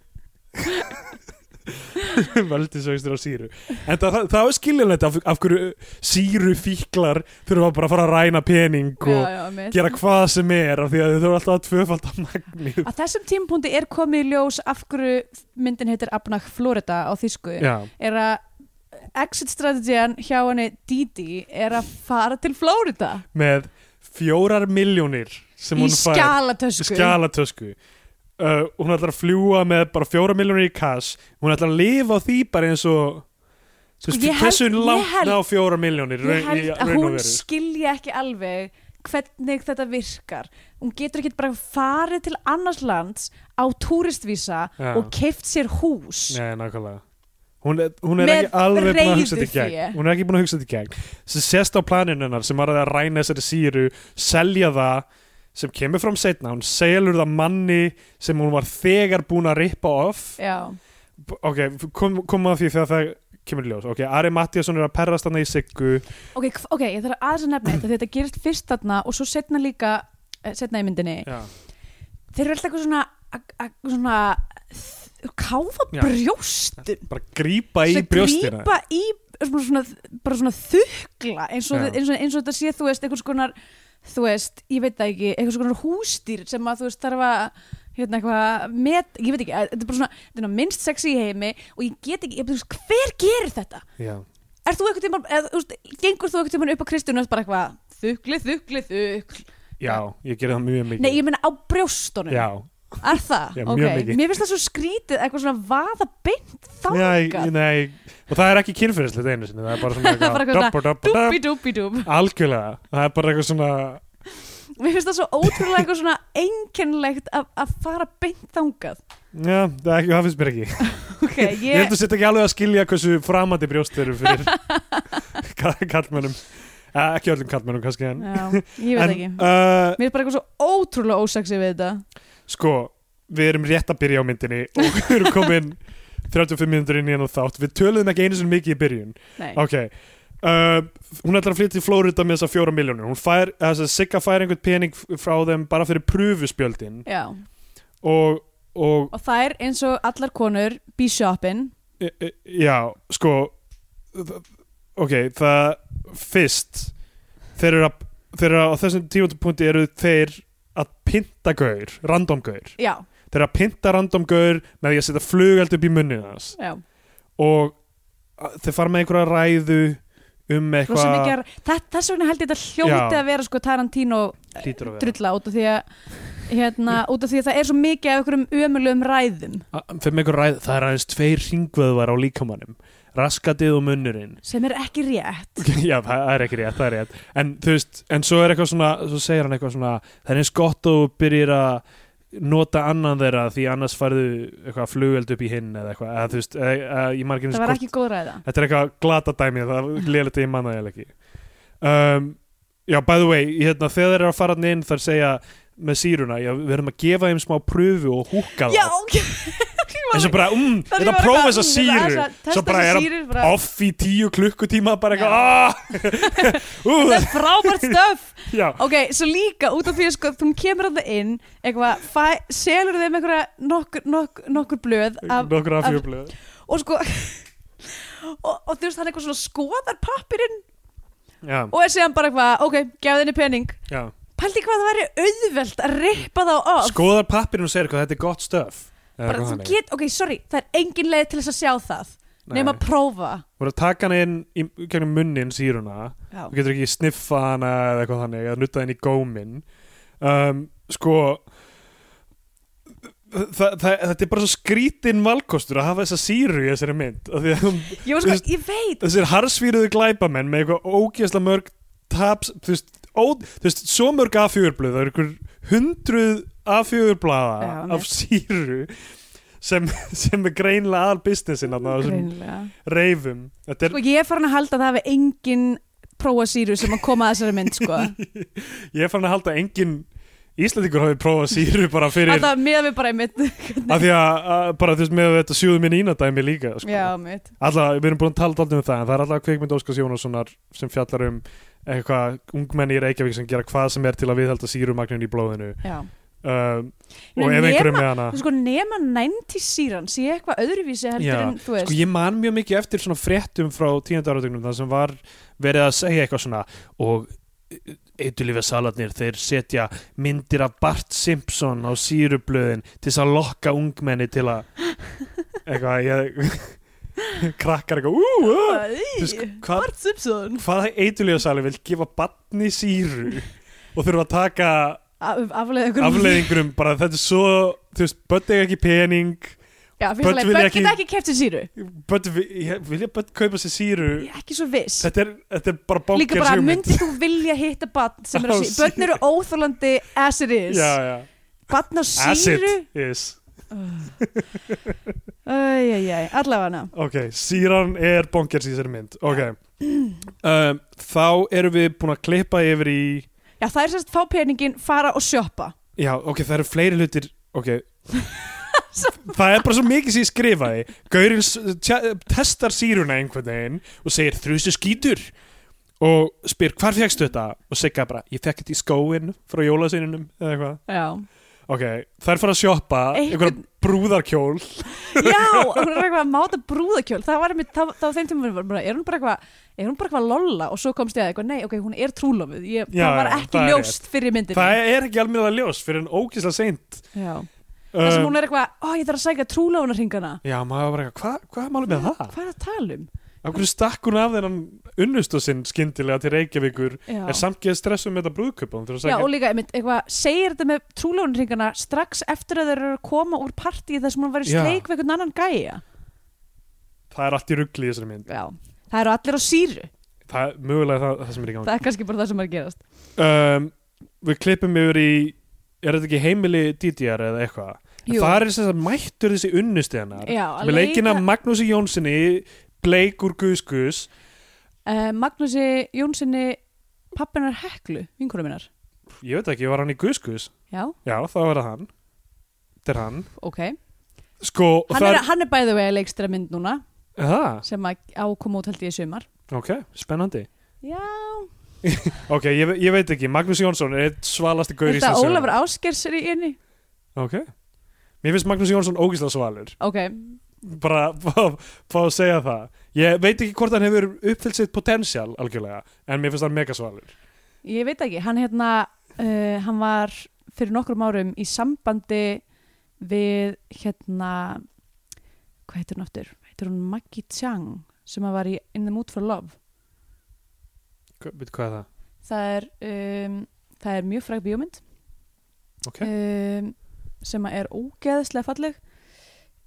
Veldisvöxtur á síru En það, það, það er skiljanlegt af, af hverju síru fíklar þurfa bara að fara að ræna pening og já, já, einmitt. gera hvað sem er af því að þau þurfa alltaf að tvöfalda magnið Á þessum tímpúndi er komið í ljós af hverju myndin heitir Abnach Florida á þýsku Já, er að exit strategian hjá henni Didi er að fara til Florida með fjórar miljónir sem í hún fær skjalatösku skjalatösku uh, hún ætlar að fljúa með bara fjóra miljonir í kass hún ætlar að lifa á því bara eins og þú veist, ég held- hversu ég langt held- ná fjóra miljonir ég held að og hún veru? skilja ekki alveg hvernig þetta virkar hún getur ekki bara farið til annars lands á túristvísa Já. og keift sér hús Nei, nákvæmlega hún er, hún er Með ekki alveg búin að hugsa reiðufé. þetta í gegn hún er ekki búin að hugsa þetta í gegn sem sést á planinunnar sem var að ræna þessari síru selja það sem kemur fram setna hún selur það manni sem hún var þegar búin að rippa off já, B- ok, kom, kom að því þegar það kemur í ljós ok, Ari Mattiasson er að perrast hann í siggu ok, hv- ok, ég þarf aðeins að nefna þetta því þetta gerist fyrst þarna og svo setna líka eh, setna í myndinni Já. þeir eru alltaf eitthvað svona, að- að- svona þ- káfa Já. brjóstin bara grípa í Svo brjóstina grípa í svona, svona, bara svona þukla eins og, Já. þi- eins, og, eins og þetta sé þú veist einhvers konar þú veist, ég veit það ekki, einhvers konar hústýr sem að þú veist þarf að hérna eitthvað met, ég veit ekki, að- þetta er bara svona þetta er nú minnst sexi í heimi og ég get ekki, ég, þú veist, hver gerir þetta? já, Er þú eitthvað tíma, eða, þú veist, gengur þú eitthvað tíma upp á Kristjánu og ert bara eitthvað þukli, þukli, þukl já, ég gerði það mjög mikið Nei, ég meina á brjóstunum já, Er það? Já, Ok. mjög mikið. Mér finnst það svo skrítið eitthvað svona vaða beint nei, þangað nei, og það er ekki kynferðislegt einu sinni, það er bara svona Það er bara eitthvað dabba, dabba, dabba, Dúbidúbidúb algjörlega það er bara eitthvað svona Mér finnst það svo ótrúlega eitthvað svona einkennlegt að, að fara beint þangað já, það, er ekki, það finnst mér ekki Ok, ég ég held að setja ekki alveg að skilja hversu framandi brjóst eru fyrir ka- kallmönnum Eh, ekki öllum kallmönnum kannski en, Já, ég veit ekki en uh, Mér er bara eitthvað svo ótrúlega ósaksi við þetta sko, við erum rétt að byrja á myndinni og við erum komin 35 minnundur inn í hennar þátt við töluðum ekki einu sinni mikið í byrjun Nei, ok, uh, hún ætlar að flytja í Flórida með þessar fjóra miljónur hún fær, þess að Sigga fær einhvern pening f- frá þeim bara fyrir pröfuspjöldin já og, og Og þær eins og allar konur Be shopping e, e, já, sko þ- ok, það fyrst, þeir eru að þeir eru að á þessum tímapunkti eru þeir að pinta gaur, random gaur Já, þeir eru að pinta random gaur með því að setja flugeld upp í munnið hans já og uh, þeir fara með einhverja ræðu um Rosa mikið eitthvað að- Þa- Þess vegna held ég þetta hljóti Já. að vera sko Tarantino hlýtur að vera drulla út af því að hérna, út af því að það er svo mikið af einhverjum ömulegum ræðum A- fyrir mig einhver ræð, það er aðeins tveir ringvöðvar á líkamannum raskatið og munnurinn sem er ekki rétt já, það það er ekki rétt, það er rétt en þú veist, en svo er eitthvað svona svo segir hann eitthvað svona, það er eins gott og byrjir að nota annan þeirra því annars færðu eitthvað flugeld upp í hinn eða eitthvað, eða, þú veist, eða, eða, ég margir það var ekki góð ræða þetta er eitthvað glata dæmi það er lélega ég manna það eiginlega ekki um, já, by the way hérna, þegar þeir eru að fara þarna inn þar segja með síruna, já, við erum að gefa þeim smá pröfu og húka já, það ok eins og bara, um, Það þetta var prófa eitthvað, þessa mm, síru aðeins að testa svo bara þessa er sýru, bara, að off í tíu klukkutíma bara eitthvað, aaaah ú, þetta er frábært stöf já, ok, svo líka út af því að sko, þú kemur að það inn eitthvað, fæ- selur þeim einhverja nokkur, nokkur, nokkur blöð af, nokkur af af- fjöflöð og sko og, og þú veist hann eitthvað svona skoðar pappirinn já, og er síðan bara eitthvað, ok, gefðu henni pening já, pældi hvað það væri auðvelt að rippa þá af skoðar pappirinn og segir hvað þetta er gott stöf bara, þú get, ok, sorry, það er engin leið til þess að sjá það nema að prófa voru að taka hana inn í gegnum munnin síruna þú já, getur ekki sniffa hana eða eitthvað þannig eða nutta henni í gómin um, sko þa, þa, þetta er bara svo skrítin valkostur að hafa þessa síru í þessari mynd af því að hún- ég, var sko, ég veit þessir harsvíruðu glæpamenn með eitthvað ógeðsla mörg taps, þú veist, ó, þú veist svo mörg A4-blöð, það eru ykkur hundruð A4-blaða Já, af síru sem, sem er greinlega aðal businessin á þessum greinilega. reifum þetta er sko, ég er farin að halda að það hefði engin prófasýru sem að koma að þessari mynd sko. Ég er fann að halda að engin Íslandingur hafi prófað síru bara fyrir að það miða við bara einmitt af því að, að bara þú veist með þetta sjóðu minni ínadæmi líka sko. já, mitt alltaf, við erum búin að tala alltaf um það en það er alltaf kveikmynd Óskars Jónassonar sem fjallar um eitthvað ungmenni í Reykjavík sem gera hvað sem er til að viðhalda sírumagnin í blóðinu já. um, Nei, og ef nema- einhverjum með hana sko, nema 90 síran sé eitthvað öðruvísi heldur Já, en þú veist Sko ég man mjög mikið eftir svona fréttum frá tíundu áratögnum þar sem var verið að segja eitthvað svona og eitulífa salarnir, þeir setja myndir af Bart Simpson á sírublöðin til þess að lokka ungmenni til að eitthvað ég, krakkar eitthvað ú, uh, þú veist, Æ, hvað, Bart Simpson hvaða eitulífa salur vil gefa batni síru og þurfa að taka Af- afleiða einhverjum- afleiðingurum bara þetta er svo, þú veist, börn eiga ekki pening Já, fyrst Börn að leið, vilja börn ekki- geta ekki keft sér síru börn, vi- ég- vilja börn kaupa sér síru ég er ekki svo viss Þetta er, þetta er bara bókjars líka bara, myndir þú vilja hitta barn sem er Á að síru, börn eru óþólandi as it is, Já, já barn á Acid síru is æjæjæj, allavega Ok, síran er bókjars í þessari mynd Ok um, Þá erum við búin að klippa yfir í já, það er sérst fá peningin, fara og sjoppa Já, ok, það eru fleiri hlutir Ok Það er bara svo mikið sem ég skrifaði Gaurinn s- tja- testar síruna einhvern veginn og segir þrjusu skítur og spyr hvar fegstu þetta og segja bara, ég fekk þetta í skóin frá jólaseininum eða eitthvað já, Ok, þær fara að sjoppa Einhvern- einhverja brúðarkjól já og hún er eitthvað að máta brúðakjól það var einmitt, þá þá á þeim tíma var bara, er hún bara eitthvað er hún bara eitthvað lolla og svo komst ég að eitthvað nei, ok, hún er trúlofuð, ég, Já, það var já, ekki það er ljóst fyrir myndinni Það er ekki almennilega ljós fyrir en ógislega seint já, það sem um, hún er eitthvað, ó, ég þarf að sækja trúlofunarringana Já, maður var bara eitthvað, hva, hvað er málið með það? hvað er að tala um? Af hverju stakk hún af þennan unnusta sinn skyndilega til Reykjavíkur já. er samt geða stressum með þetta brúðkaup hún þarf að Já, segja- og líka, einmitt, eitthvað, segir þetta með trúlónringana strax eftir að þeir eru að koma úr partíi þar sem hún var í Já. sleik við einhvern annan gæja. það er allt í ruggli í þessari mynd Já, það eru allir á síru. það er mögulega það, það sem er í gangi Það er kannski bara það sem er að gerast. um, við klippum yfir í er þetta ekki heimili DDR eða eitthvað Jú. það er þess að mættur þessi unnusti hennar Já, með leikina Magnúsi Jónssoni Bleik úr Gus Gus Uh, Magnúsi Jónssoni, pappinar Heklu, vinkunum minnar. ég veit ekki, var hann í Gus Gus Já, já, þá var það hann þetta er hann ok. sko, og Hann það er, hann er bæðið vega leikstæra mynd núna Aha, sem að ákoma út held ég í sumar. ok, spennandi Já, ok, ég, ve- ég veit ekki, Magnús Jónsson er eitt svalasti gaur í þetta þessum Ólafur Áskers er í inni. sögu. ok, mér finnst Magnús Jónsson ógislega svalur Ok, bara fá- fá að segja það ég veit ekki hvort hann hefur uppfyllt sitt potensial algjörlega, en mér finnst hann mega svalur ég veit ekki. Hann hérna, uh, hann var fyrir nokkrum árum í sambandi við hérna, hvað heitir hún aftur? Heitir hún Maggie Chang sem að var í In the Mood for Love. Hva- veit hvað er það? Það er, um, það er mjög fræk bíómynd. ok, um, sem að er ógeðslega falleg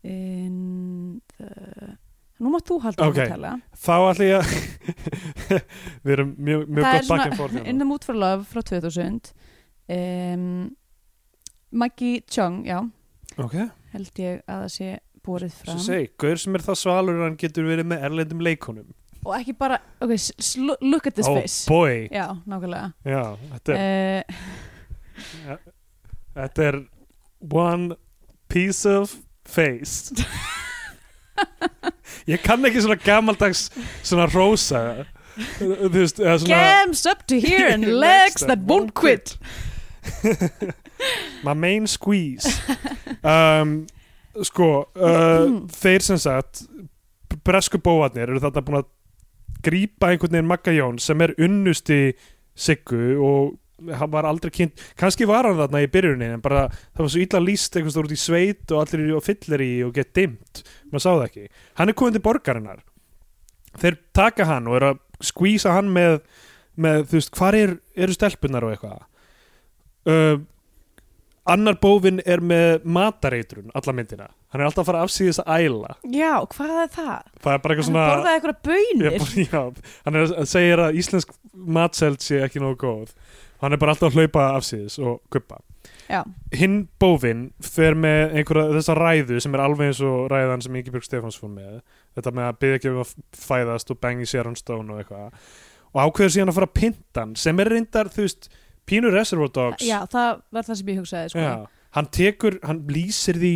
In the... Nú mátt þú halda Ok, að tala þá ætla ég að við erum mjög, mjög Það er gott svona- back and forth In hérna. the Mood for Love frá 2000 um, Maggie Chung, já ok, held ég að það sé borið svo fram segi, gaur sem er það svalur að hann getur verið með erlendum leikonum og ekki bara, ok, s- s- look at this oh face boy, Já, nákvæmlega já, þetta er uh, Þetta er one piece of face Ég kann ekki svona gamaldags svona rosa Þú veist, eða svona Gams up to here and legs that won't quit My main squeeze um, Sko uh, Þeir sem sagt Bresku bóarnir eru þetta búin að grípa einhvern veginn Magga Jón sem er unnusti Siggu og hann var aldrei kynnt, kannski var hann þarna í byrjunin en bara það var svo illa líst einhvers þú út í sveit og allir eru fyllir í og get dimmt maður sá það ekki, hann er komin til borgarinnar þeir taka hann og eru að skvísa hann með, með þú veist, hvar er, eru stelpunar og eitthvað uh, annar bófin er með matareitrun alla myndina, hann er alltaf að fara afsýðis að æla, Já, hvað er það? það er bara eitthvað Hann svona borðaði eitthvað Ég bönir bara- Já, hann er að segja að íslensk matseld sé ekki nógu góð hann er bara alltaf að hlaupa afsýðis og kuppa Já. hinn bófin fer með einhverja þessa ræðu sem er alveg eins og ræðan sem Ingebjörg Stefáns fór með þetta með að byggja ekki um að fæðast og bengi Sharon Stone og eitthvað og ákveður síðan að fara að pynta hann sem er reyndar, þú veist, pínur Reservoir Dogs Já, það var það sem ég hugsaði sko. Já, hann tekur, hann lýsir því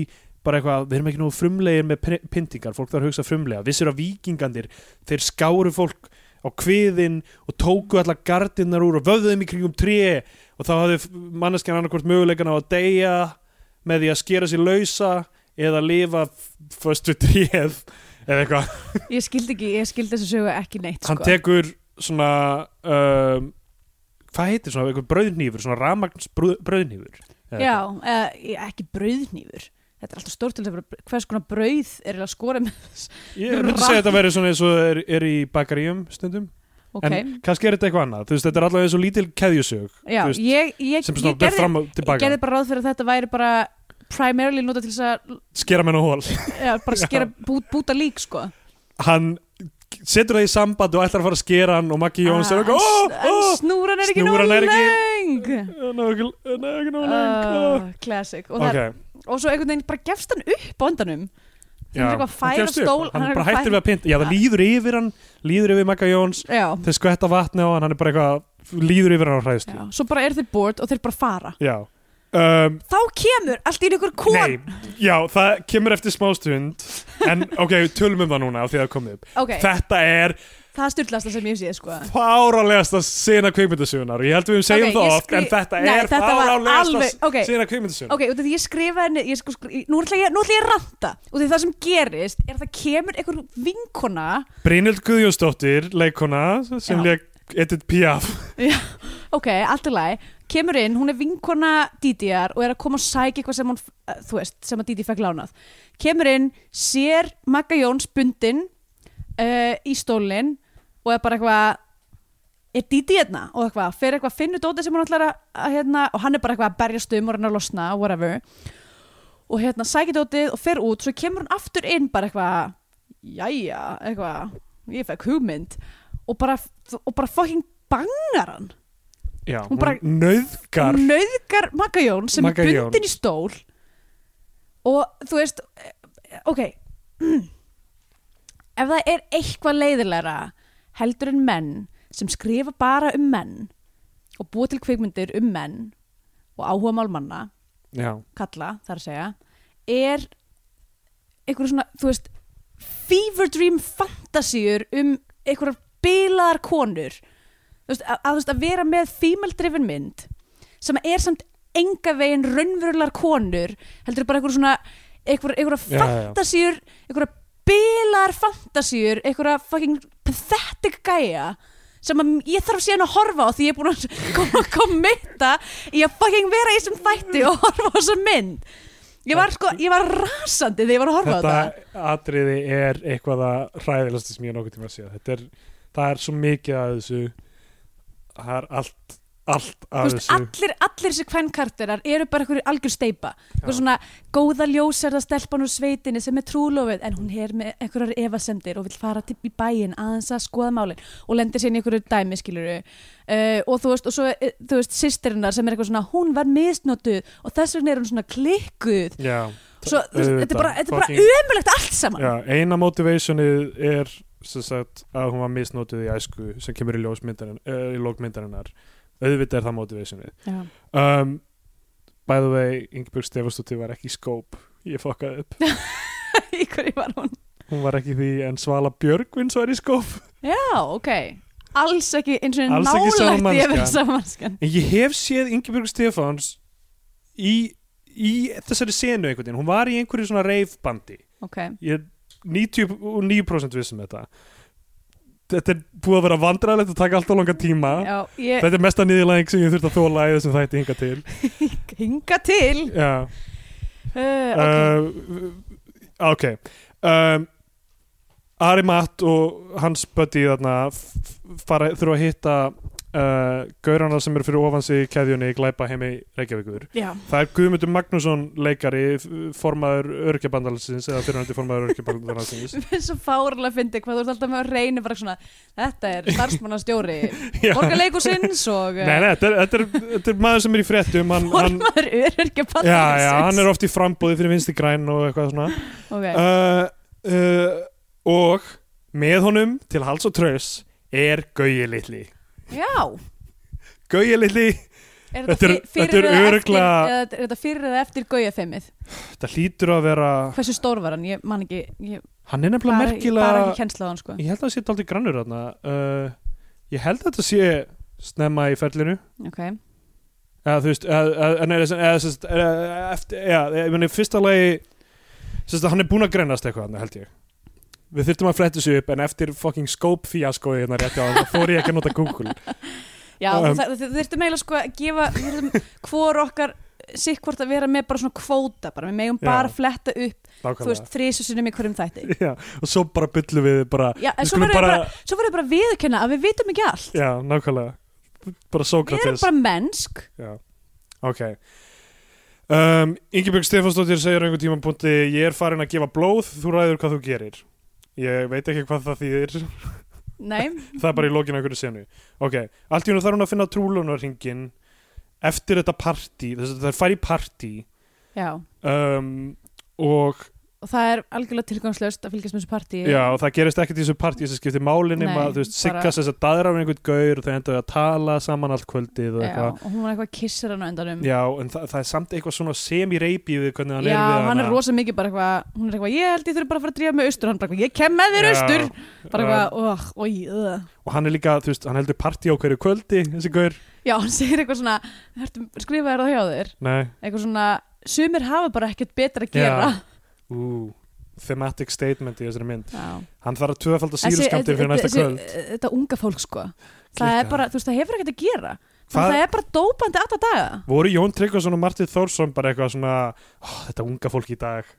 bara eitthvað, við erum ekki nú frumlegir með pr- pyntingar, fólk þarf að hugsa frumlega vissir að vikingandir, þeir skáru fólk á kviðin og tóku allar gardinnar úr og vöðuðum í kringum tré og þá hafði manneskjan annarkvort möguleikan á að deyja með því að skera sér lausa eða lifa f- föst við tréð eða eitthvað Ég skildi ekki, ég skildi þessu sögu ekki neitt hann sko. tekur svona um, hvað heitir svona, einhver brauðnýfur svona ramagns brauðnýfur Já, eða, ég- ekki brauðnýfur Þetta er alltaf stórt til að vera hvers konar brauð er að skora með þess Ég myndi segja þetta að vera svona eins og er, er í bakaríum stundum Ok, En kannski er þetta eitthvað annað Þú veist, þetta er allavega eins og lítil keðjusög já, þú veist, ég, ég, sem ég, svona ber gerði, fram og ég tilbaka gerði bara ráð fyrir að þetta væri bara primarily nota til þess að Skera menn á hól já, bara skera, bú, búta lík sko Hann setur það í samband og ætlar að fara að skera hann og Maggi Jóns er Ah, eitthvað en s- en "Ó, ó, Snúran er ekki oh, Snúran nógu er leng Ná, ekki, ná, ekki ná, Ah, Classic og, Ok, okay. og svo einhvern veginn bara gefst hann upp á endanum já er eitthvað að færa gefst upp. stól- Hann hann er er bara eitthvað að færa- hættir Ah. við að pynta Já, það líður yfir hann, líður yfir Magga Jóns Já, Þeir skvetta vatni á hann, hann er bara eitthvað Líður yfir hann á hræðstu já, svo bara er þeir bored og þeir bara fara Já um, Þá kemur allt í einu ykkur kon Nei, já, það kemur eftir smástund En ok, tölum um það núna af því að það komið upp Ok, Þetta er það er styrlasta sem ég sé sko. fárálegasta sena kvikmyndasögunar Ég held við um segjum Ok, það ég oft En skri- þetta Nei, er þetta var fárálegasta alveg- ok. sena kvikmyndasögunar Ok, út af því ég skrifaði henni ég sko, skri, nú, ætla ég, nú ætla ég að ranta Út af því það sem gerist er að það kemur einhver vinkona Brynhild Guðjónsdóttir, leikona sem Já. leik Edith Piaf Ok, allt í lagi Kemur inn, hún er vinkona Dídiar og er að koma og sækja eitthvað sem hún eh, þú veist, sem að Dídi fekk lánað Kemur inn, sér Magga Jóns bundin uh, í eh, stólinn og er bara eitthvað er Didi hérna og eitthvað fer eitthvað að finna dótið sem hann ætlar að, að hérna, og hann er bara eitthvað að berjast um og hann að losna whatever og hérna sækir dótið og fer út svo kemur hann aftur inn bara eitthvað jæja, eitthvað, ég fekk hugmynd og bara, og bara fucking bangar hann Já, Hún hún bara- Mm. bara nöðgar nöðgar Magga Jón sem Magga er Jón. bundin í stól og þú veist eh, ok ef það er eitthvað leiðilegra heldur en menn sem skrifa bara um menn og búa til kvikmyndir um menn og áhuga málmanna Já, kalla þar að segja er einhver svona, þú veist fever dream fantasíur um einhverjar bilaðar konur þú veist, að, að, þú veist, að vera með female driven mynd sem er samt enga veginn raunverulegar konur heldur bara einhver svona einhverjar einhver Já, já, já. fantasíur einhverjar bilaðar fantasíur einhverjar fucking pathetic gæja sem að ég þarf síðan að horfa á því ég er búin að koma að kommenta í að fucking vera í þessum þætti og horfa á þessa mynd ég var sko, ég var rasandi þegar ég var að horfa á þetta þetta atriði er eitthvað að hræðilegsta sem ég er nokkuð tíma að sé Þetta er, það er svo mikið að þessu Það er allt, allt Þú að veist, þessu allir, allir þessi kvennkarterar eru bara einhverju algjör steipa einhver svona góða ljóserða stelpan úr sveitinni sem er trúlofið en hún er með einhverjar efasemdir og vill fara til í bæinn aðeins að skoða málin og lendir sér í einhverju dæmi skiluru uh, og þú veist, og svo, eh, þú veist, sýstirinnar sem er eitthvað svona, hún var misnotuð og þess vegna er hún svona klikkuð Já, svo, þú veist, þetta er bara, þetta er bara Fucking- ömulegt allt saman já, eina motivationið er sem sagt að hún var misnotuð í æsku sem kemur í ljósmyndarinn uh, í lókmyndarinnar, auðvitað er það motivationið Já. um, By the way, Ingeborg Stefánsdóttir var ekki í skóp Ég fokkaði upp í hverju var hún Hún var ekki í því en Svala Björgvins var í skóp já, ok, alls ekki eins og Alls ekki sama nálægt ég verið manneskjan. samanskjan En ég hef séð Ingeborg Stefáns í, í þessari senu einhvern veginn Hún var í einhverju svona reifbandi ok, Ég er 99% vissum um þetta Þetta er búið að vera vandræðilegt að taka alltaf langa tíma já, ég Þetta er mesta niðurlæðing sem ég þurft að þóla í þessum þætti hinga til hinga til Já uh, uh, ok um, Ari Matt og hans buddy þarna f- f- fara, þurfa að hitta uh, gaurana sem eru fyrir ofan sig í keðjunni í glæpa heimi Reykjavíkur já, það er Guðmundur Magnússon leikari f- formaður örkjabandalansins eða fyrirhandi formaður örkjabandalansins mér er svo fárlega að fyndi hvað þú ert alltaf með að reyna bara svona, þetta er starfsmannastjóri Já. borgarleikusins og Nei, nei, þetta er, þetta, er, þetta er maður sem er í fréttum hann, hann, formaður öryrkja já, já, hann er oft í frambúði fyrir vinstri græn og eitthvað svona okay. uh, uh, og með honum til hals og traus er Gauji litli já, Gauji litli, er Þetta þetta, er- þetta, fyrir, þetta er eða örugglega- eftir, eða, er þetta fyrir eða eftir gaujaþemið þetta hlýtur að vera hversu stór var hann, ég man ekki ég hann er nefnilega bara, ég bara merkilega ekki kennsla á hann sko ég held að það sé daldið grannur þarna uh, ég held að þetta sé snemma í ferlinu ok, eða þú veist eða, eða, eða, eða, eða, sem sagt, eða, eða, eftir, eða, eða, eða, eða fyrsta lagi sem sagt, hann er búinn að grennast eitthvað þarna, held ég við þyrftum að fletta þessu upp en eftir fucking scope fíaskoði hérna rétt á hann þá fór ég ekki að nota Google já, Um, um, þú þurftum eiginlega sko að gefa við þurftum hvor okkar sikk hvort að vera með bara svona kvóta bara, við megum Já. bara fletta upp, þú nákvæmlega veist, þrísusunum í hverjum þætti Já, og svo bara byllum við bara Já, en svo Við skulum verður bara, bara- bara, svo verður bara viðurkenna að við vitum ekki allt. Já, nákvæmlega við Bara erum Sókrates bara mennsk. Já. Ok um, Ingebjörg Stefansdóttir segir á einhver tíma punkti Ég er farin að gefa blóð, þú ræður hvað þú gerir Ég veit ekki hvað það þýðir Nei, Það er bara í lokinu einhverju senu Ok, allt í hún þarf hún að finna trúlunarhingin Eftir þetta partí Þess að það er færi partí já. um, Og Og það er algjörlega tilgangslöst að fylgjast með þessu partíi. Já, og það gerist ekkert í þessu partí sem skiptir máli nema, Nei, þú veist, bara- sigga þess að daðra af einhvern gaur og það endaði að tala saman allt kvöldið og Já, eitthvað og hún var eitthvað að kissa hann á endanum. Já, en þa það er samt eitthvað svona semi-reipi við hvernig hann Já, er við hann hana. er rosa mikið bara eitthvað, hún er eitthvað, ég held ég þurfi bara að fara að drífa með austur, hann bara eitthvað, ég kem með þér Já, austur, bara um, eitthvað, óh, ói, öða. Og hann er líka, þú veist, hann heldur partí á hverju kvöldi, þessi gaur. Já, hann segir eitthvað svona, hörtu, skrifa þér það hjá þér, Nei, eitthvað svona, sumir hafa bara ekkert betra að gera. Já. ú, thematic statement í þessari mynd. Já. Hann þarf að tvöfalda Þessi- síðuskamptir fyrir næsta þessi- kvöld. Þetta unga fólk, sko. Það er Klikkað. bara, þú veist, það hefur ekkert að gera. Hvað- Það er bara dópandi alltaf daga. Voru Jón Tryggvason og Martið Þórsson bara eitthvað svona, ó, þetta unga fólk í dag.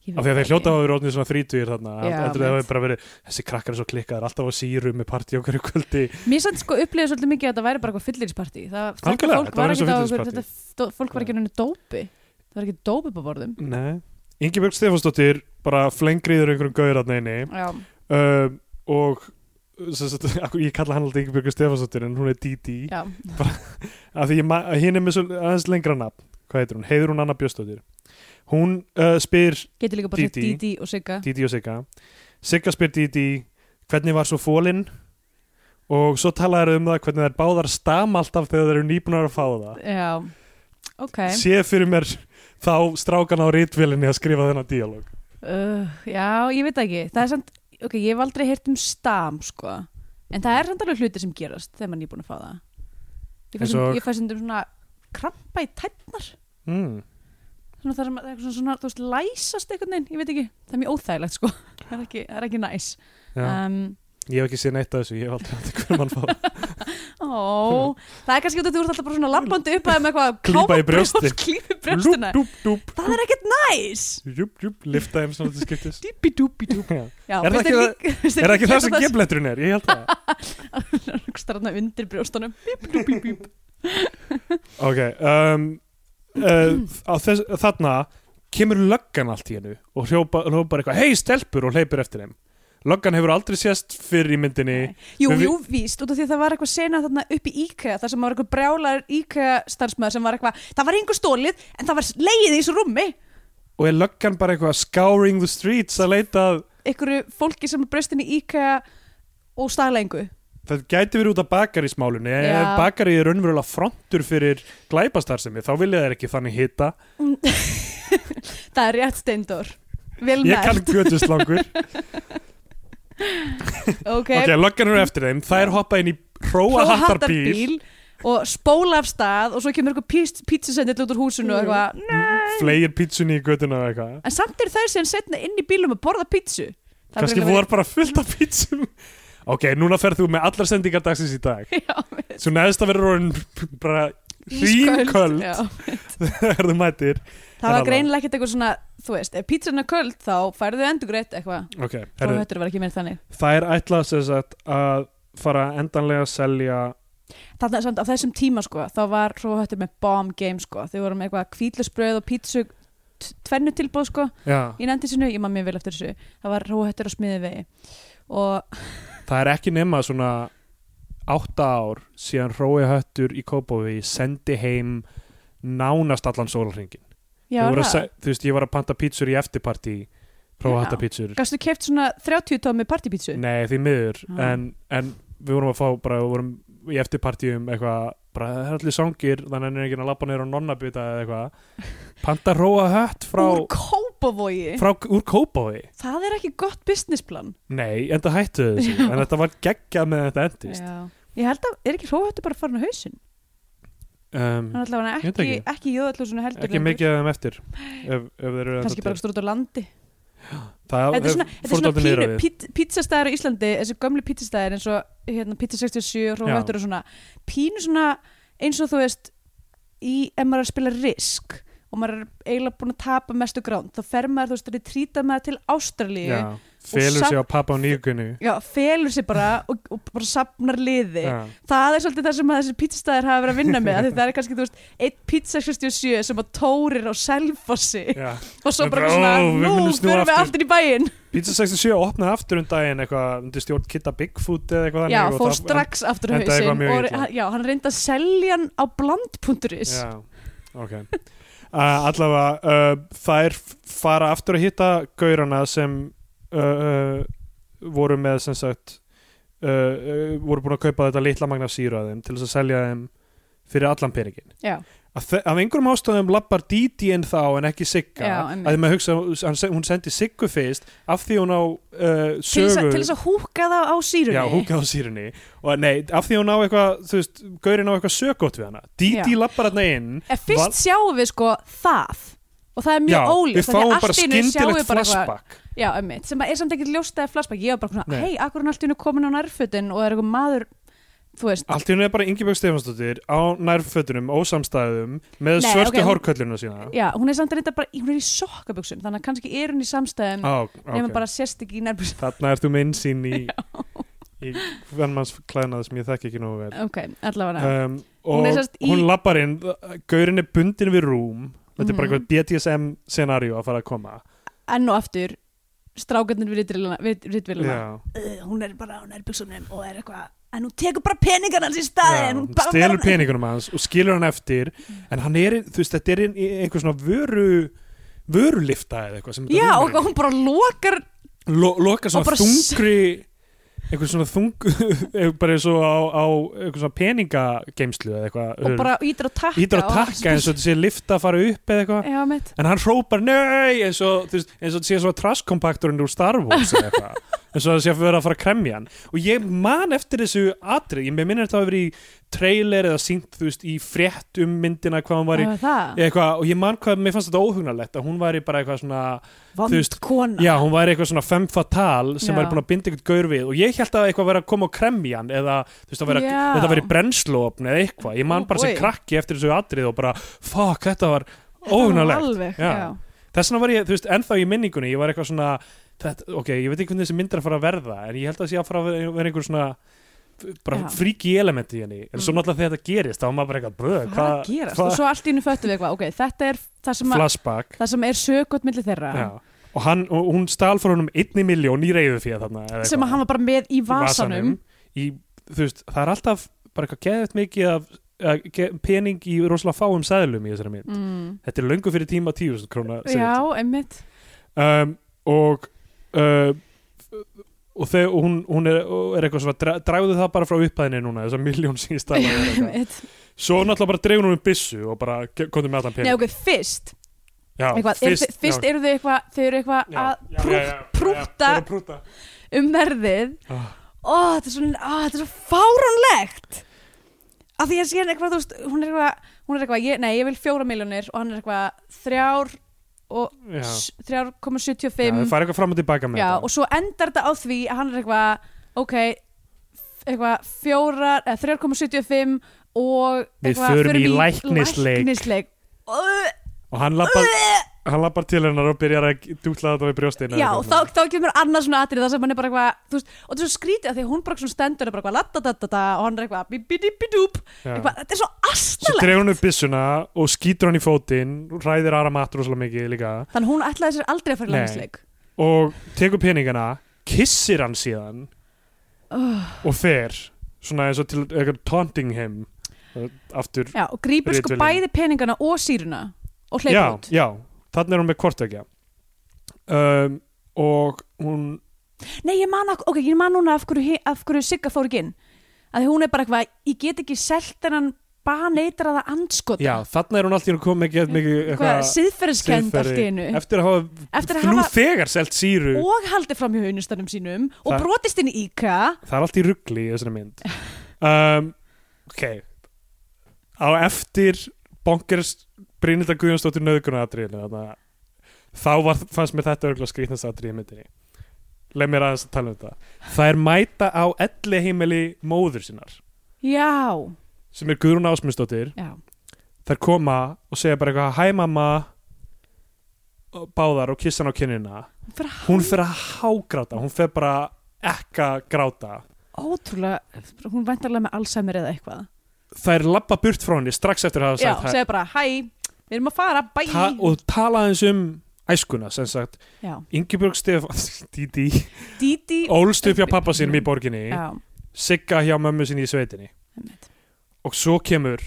Ég veit af því að þeir ekki. hljóta hafa verið orðnir svona þrítugir þarna Já, heldur það mitt. hafi bara verið, þessi krakkar er svo klikkaðar alltaf á síru með partí okkur í kvöldi Mér sann sko upplýði svolítið mikið að þetta væri bara eitthvað fyllirisparti Það þetta Algjörlega, fólk þetta var var eins ekki og á okkur fylliríspartí. þetta, f- Fólk var ekki henni dópi Það var ekki dópi på borðum Nei, Ingibjörg Stefánsdóttir bara flengriður einhverjum gauður að neini Já, um, og sem sagt, akkur- ég kalla hann alltaf Ingibjörg Stefánsdóttir en hún er Didi já, af því ég ma- að hinn er með svo aðeins lengra nafn hvað heitir hún, heiður hún Anna Bjöstóttir hún uh, spyr getur líka bara sagt Dídí. Dídí og Sigga Didi og Sigga Sigga spyr Didi hvernig var svo fólinn og svo tala þær um það hvernig þær báðar stama alltaf þegar þær eru nýbúnar að fá það Já, ok sé fyrir mér þá strákan á rítvélinni að skrifa þennan díalóg uh, Já, ég veit ekki Það er samt, ok, ég hef aldrei heyrt um stam sko En það er samt alveg hluti sem gerast Þegar maður er nýbúin að fá það Ég fæ Eins sem- og- Ég fæ sundum svona krampa í tætnar mm. Svona það er það er eitthvað svona, þú veist, læsast einhvern veginn, ég veit ekki, það er mjög óþægilegt sko, það er ekki, það er ekki næs. Já. Um, ég hef ekki séð neitt af þessu, ég hef aldrei hægt hvernig mann fá Ó, það er kannski út af því að þú ert alltaf bara svona labbandi upp að með eitthvað Klípa í káfa brjóst, brjóstin. klípa í brjóstina dúp, dúp, það er ekkert næs dúp, dúp, lifta þeim svona til skiptis dýpi dúpi dúp Já. Já, Er finnst það ekki þér það- líka- finnst þér er það ekki það sem líklegt gefletturinn er, ég held það að það starna undir brjóstunum Ok um, uh, á þess, Þarna kemur löggan allt í hennu og hrópa- hrópar eitthvað hei stelpur og hleypur eftir þeim Löggan hefur aldrei sést fyrr í myndinni Nei. jú, Men við- jú, víst, út af því að það var eitthvað sena þarna upp í IKEA, þar sem var eitthvað brjálar IKEA starfsmöður sem var eitthvað það var einhver stólið, en það var leið í þessu rúmi og er löggan bara eitthvað scouring the streets að leita að- einhverju fólki sem er brjóstin í IKEA og staðlengu það gæti verið út af bakarísmálunni ef Já. bakarí er raunverulega frontur fyrir glæpastarsemi þá vilja þær ekki þannig hita það er rétt steindor vel ég kann nært, götuslangur ok, ok, löggan eru eftir þeim þær hoppa inn í hróa hattarbíl hróhattarbíl og spóla af stað og svo kemur eitthvað pítsusendill út úr húsinu Mm. og eitthvað flegir pítsunni í götuna og eitthvað en samt er þau sem setna inn í bílum að borða pítsu Það er kannski greinilega voru bara fullt af pítsum ok, núna ferð þú með allar sendingar dagsins í dag verið- Já, svo neðst að vera orðin bara hrýnköld já. þegar þú mætir það var alveg. greinilega ekkert eitthvað svona þú veist, ef pítsan er köld þá færðu endugreitt eitthvað ok, herri, hróhattur var ekki meir þannig það er ætlað sem sagt að fara endanlega að selja þannig að samt á þessum tíma sko þá var hróhattur með bomb game sko þau voru með eitthvað kvítlusbröð og pítsu t- tvennu tilbúð sko já, í nendisinu, ég maður mjög vel eftir þessu það var hróhattur á smiði vegi og það er ekki nema svona átta ár síðan Rói Höttur í Kópaví sendi heim nánast allan sólarringin já, er það? þú veist, ég var að panta pítsur í eftirparti Rói Já. Hötta pítsur Gastu keft svona 30 tómi partypítsu? Nei, því miður Ah. en, en við vorum að fá bara, við vorum í eftirpartíum eitthvað, bara það er allir sangir þannig að hann er ekki að labba neyra á nonnabita eða eitthvað Panta róa hött frá Úr kópavogi? frá, úr Kópái Það er ekki gott businessplan. Nei, en það hættu þau þessu en þetta var geggjað með þetta endist Já. Ég held að, er ekki hróhættu bara farin á hausinn? um, Hann er allavega Ég veit ekki, ekki. ekki, ekki jöðallúsinu heldur. Ekki mikið af þeim eftir ef, ef þeir eru Kanski bara stort á landi. það, Þetta er svona, þeir þetta fór er svona dálítið niður á pínu, við. pít, pizzastæðar á Íslandi, þessi gömlu pizzastæðar eins og hérna, pizza 67 og hróhættur og svona, pínu svona eins og þú veist, í, ef maður er að spila risk og maður er eiginlega búin að tapa mestu gránd, þá fer maður, þú veist, retrýta maður til Ástralíu Já, Felur sig á pappa á nýgunni Já, felur sig bara og, og bara sapnar liði Já, það er svolítið það sem að þessir pizzastæðir hafa verið að vinna með af því það er kannski, þú veist, eitt pizza 67 sem að tórir á selfossi já og svo bara Bara, svona, ó, við nú munum snúa fyrir við aftur." aftur í bæinn Pizza 67 opnaði aftur um daginn eitthvað undir stjórn Kitta Bigfoot eða eitthvað já, þannig og fór það- strax aftur á endaði eitthvað hausinn mjög og illa. hann- já, hann reyndi að selja hann á bland.is Já, ok uh, Allavega, uh, þær fara aftur að hitta gaurana sem uh, uh, voru með sem sagt uh, uh, voru búin að kaupa þetta litla magna af sýru að þeim til þess að selja þeim fyrir allan peningin já, Af þe- af einhverjum ástæðum lappar Didi en þá en ekki Sigga Já, að einmitt. því maður hugsa, hann se- hún sendi Siggu fyrst af því hún á uh, til sögu þess, að, til þess að húka það á sírunni Já, hún gaf sírunni og nei, af því hún á eitthvað, þú veist, gaurinn á eitthvað sögótt við hana Didi Já. lappar hérna inn en fyrst sjáum við sko það og það er mjög ólíkt af við því að fáum allt bara í einu sjáum við skindilegt bara eitthvað- flashback Já, emmitt, sem að er samt ekkert ljóstaði flashback ég var bara svona, Nei. hei, akkur hann allt í hennu komin á nærfötin og er eitthvað maður þú veist Allt í henni er bara Ingeborg Stefansdóttir á nærfötunum, ósamstæðum með Nei, svörtu ok, okay, hún- hárkölluna sína já, hún er samt reynda bara, hún er í sokkaböksum þannig að kannski er hún í samstæðum Á, okay. nema bara sérst ekki í nærbús Þarna ertu með innsýn í, í hvernmannsklæðnað sem ég þekki ekki nógu vel ok, allavega um, og Hún er hún, sem sagt í- lappar inn gaurin er bundin við rúm þetta er bara Mhm. eitthvað BDSM scenario að fara að koma Eh. enn og aftur strákarnir við ritvilina Já. uh, hún er bara á nærbúsunum og er eitthvað en hún tekur bara peningan hans í Já, staðin hún stelur peningunum hans og skilur hann eftir en hann er, þú veist, þetta er inn í einhver svona vöru vörulifta eða eitthvað sem þetta já, rúm og er í. hún bara lokar Lo, loka og svona bara s- þungri einhver svona þung bara eins og á, á einhver svona peningageimslu eða eitthvað og bara ítir að takka ítur að takka eins og þetta sé lifta að fara upp eða eitthvað já, mitt en hann hrópar nei eins og, þú veist, eins og þetta sé svo traskompakturinn úr Star Wars eða eitthvað eins og það sé að vera að fara að kremja hann og ég man eftir þessu atrið ég minnir þetta að hafa verið í trailer eða sínt þú veist í frétt um myndina hvað hann var í það var það eitthvað og ég man hvað, mér fannst þetta óhugnarlegt að hún væri bara eitthvað svona vond þú veist, kona já hún væri eitthvað svona femme fatale sem Já. væri búin að binda eitthvað gaur við og ég held að eitthvað væri að koma og kremja hann eða þú veist að vera, Já. þetta væri brennslófn eða eitthvað ég man bara sem Oj. krakki eftir þessu atrið og bara fuck þetta var Þetta var óhugnarlegt alveg, Já. já. Þess vegna var ég, þú veist, ennþá í minningunni ég var eitthvað svona, þetta, ok, ég veit ekki hvernig þessi mynd er að fara að verða, en ég held að það sé að fara að vera vera einhver svona bara Já. Mm. fríki element í henni, en svo náttúrulega þegar þetta gerist þá var maður bara eitthvað, böð, hvað er að gerast og svo allt í hennu föttum við eitthvað ok, þetta er það sem, að, flashback það sem er sögut millir þeirra já. og hann, og hún stal frá honum einni miljón í reyðu fyrir þarna eða sem að eitthvað. hann var bara með í Í vasanum í, þú veist, það er alltaf bara eitthvað geðvægt mikið af að, ge, pening í rosalega fáum sæðlum í þessari mynd mm. þetta er löngu fyrir tíma 10.000 króna seðill. já, einmitt um, og uh, og, þeg, og hún, hún er, og er eitthvað svona dra- dragðu það bara frá upphæðinni núna þess að miljón sem ég stafa Einmitt. svo náttúrulega bara dreifur hún um byssu og bara ge- komdu með allan Nei, pening ok, fyrst, já, eitthvað, fyrst, er, fyrst eru þau eitthvað þau eru eitthvað já, að já, já, já, já, já, prúta þau eru að prúta. um verðið Ah. ó, þetta er svo, ó, þetta er svo fáránlegt af því að síðan eitthvað, þú veist, hún er eitthvað hún er eitthvað, ég, nei, ég vil fjóra miljónir og hann er eitthvað þrjár og Já. s- 3,75 Já, þau fara eitthvað fram og tilbaka með Já, þetta og svo endar þetta á því að hann er eitthvað, ok, f- eitthvað fjórar, eða 3,75 og Við eitthvað förum í læknisleik. læknisleik. Ö, og hann lappar, hann lappar til hennar og byrjar að dútla þetta við brjóstina Já, og þá, þá kemur annað svona atrið það sem hann er bara eitthvað, þú veist, og þetta er svo skrítið að því að hún bara svona stendur og bara eitthvað ladadadada og hann er eitthvað bibidibidúp, eitthvað, þetta er svo svo astalegt. dreifur hún upp byssuna og skýtur hann í fótinn ræðir aðra matur rosalega mikið líka Þannig að hún ætlaði sér aldrei að fara í Nei. læknisleik. og tekur peningana kissir hann síðan og fer svona eins og til eitthvað taunting him Uh, aftur, Já, og grýpur sko Ritvélin. bæði peningana og síruna og hleypur já, út. já þannig er hún með kortvekja um, og hún Nei, ég man, ak- ok, ég man núna af hverju, hi- af hverju Sigga fór ekki inn að hún er bara eitthvað, ég get ekki selt en hann neytar að það andskota já, þannig er hún alltaf komið með get mikið eitthvað siðferðiskend allt í siðferði. einu eftir að hafa, Eftir að nú hafa- þegar selt síru og haldið fram hjá unustanum sínum og Það- brotist inn í IKEA það er allt í ruggli í þessari mynd um, ok á eftir bonkers Brynilda Guðjónsdóttir nöðgunaratriðinu þannig að þá var, fannst mér þetta örgulega skrýtnast atrið í myndinni leið mér aðeins að tala um þetta það er mæta á elli heimili móður sinnar Já, sem er Guðrún Ásmundsdóttir já, þær koma og segja bara eitthvað hæ mamma og báðar og kissa hann á kinnina Hún fer að- hún fer að hágráta hún fer bara ekka gráta ótrúlega hún væntarlega með Alzheimer eða eitthvað þær labba burt frá henni strax eftir að hafa Já, sagt hæ segja bara, hæ, við erum að fara bæ ta og tala eins um æskuna sem sagt, Já, Ingeborg Stefans Didi, Didi ólst upp hjá pappa sínum í borginni, Já, Sigga hjá mömmu sinni í sveitinni einmitt. og svo kemur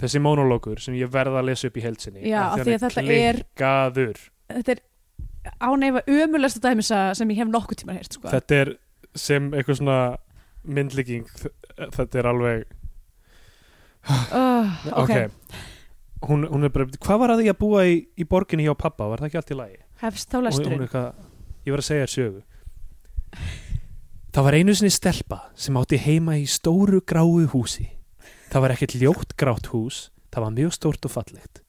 þessi monolókur sem ég verða að lesa upp í held sinni Já, af því að þetta er- klikkaður þetta er áneifa ömulegsta dæmisa sem ég hef nokkuð tíma heyrt sko. þetta er sem eitthvað svona myndlíking þ- þetta er alveg uh, ok, Hún, hún er bara, hvað var að því að búa í, í borginni hjá pappa, var það ekki allt í lagi? Hefst þá og hún lesturinn er eitthvað, ég var að segja þér sögu það var einu sinni stelpa sem átti heima í stóru gráu húsi það var ekkert ljótt grátt hús það var mjög stórt og fallegt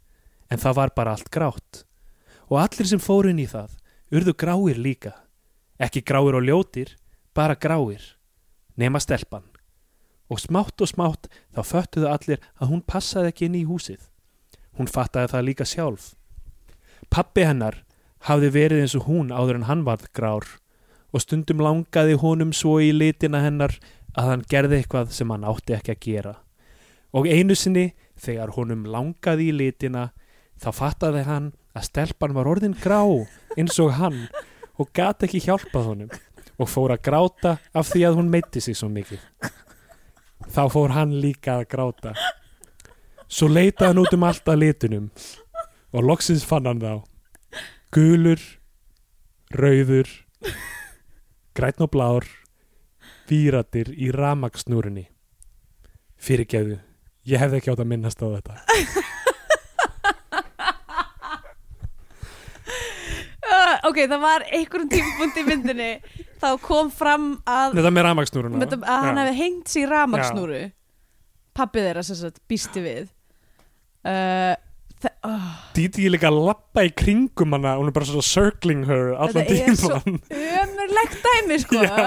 en það var bara allt grátt og allir sem fóru inn í það urðu gráir líka ekki gráir og ljótir, bara gráir nema stelpan og smátt og smátt þá föttuðu allir að hún passaði ekki inn í húsið. Hún fattaði það líka sjálf. Pappi hennar hafði verið eins og hún áður en hann varð grár og stundum langaði honum svo í litina hennar að hann gerði eitthvað sem hann átti ekki að gera. Og einu sinni, þegar honum langaði í litina, þá fattaði hann að stelpan var orðin grá eins og hann og gat ekki hjálpað honum og fór að gráta af því að hún meitti sig svo mikið. Þá fór hann líka að gráta. Svo leitaði hann út um allt að litunum og loksins fann hann þá. Gulur, rauður, grætn og blár, víratir í ramaksnúrunni. Fyrirgeðu, ég hefði ekki átt að minnast á þetta. Uh, ok, það var einhverjum tímpunkt í myndinni þá kom fram að, Þetta með ramaksnúruna. að hann hefði hengt sér ramaksnúru pappið þeirra sem sagt býsti við uh, þa- oh, Díti ég líka að lappa í kringum hana hún er bara svona circling her allan Þetta er svo- tíman ömurlegt dæmi sko Já.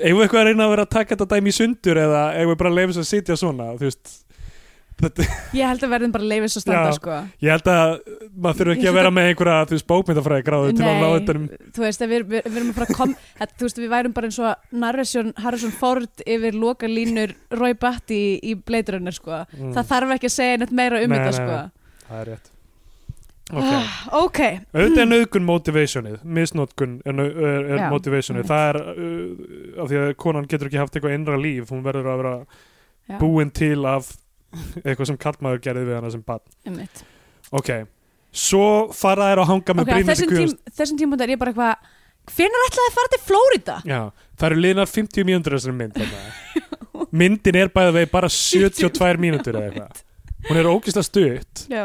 eigum við eitthvað að reyna að vera að taka þetta dæmi í sundur eða eigum við bara að leifa þess að sitja svona þú veist þetta, ég held að verðum bara leifis að standa Já. sko ég held að maður þurfi ekki að vera með einhverja þú veist bókmyndafræði gráðu til að ná þetta um þú veist, að við, við, við erum að fara að kom að, þú veist, við værum bara eins og Harrison, Harrison Ford yfir lokalínur Roy Batty í Blade Runner sko það þarf ekki að segja neitt meira um Nei, þetta nei, sko Mm, það er rétt Ah, ok, ok, auðvitað er nöðgun motivationið misnótkun er, nau- er, er Já, motivationið einmitt. það er uh, af því að konan getur ekki haft eitthvað innra líf hún verður að vera Já. búin til af eitthvað sem kallmaður gerði við hana sem barn um ok, svo fara þær að hanga með ok, á okay, þessum, tím, þessum tímum er ég bara eitthvað hvenær ætlaði að fara til Flórida? já, það eru liðnar 50 mínútur í þessari mynd þarna. myndin er bæðið vegi bara 72 mínútur eða eitthvað hún er ógislega stutt Já.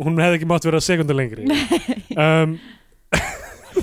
hún hefði ekki mátt vera sekundu lengri um,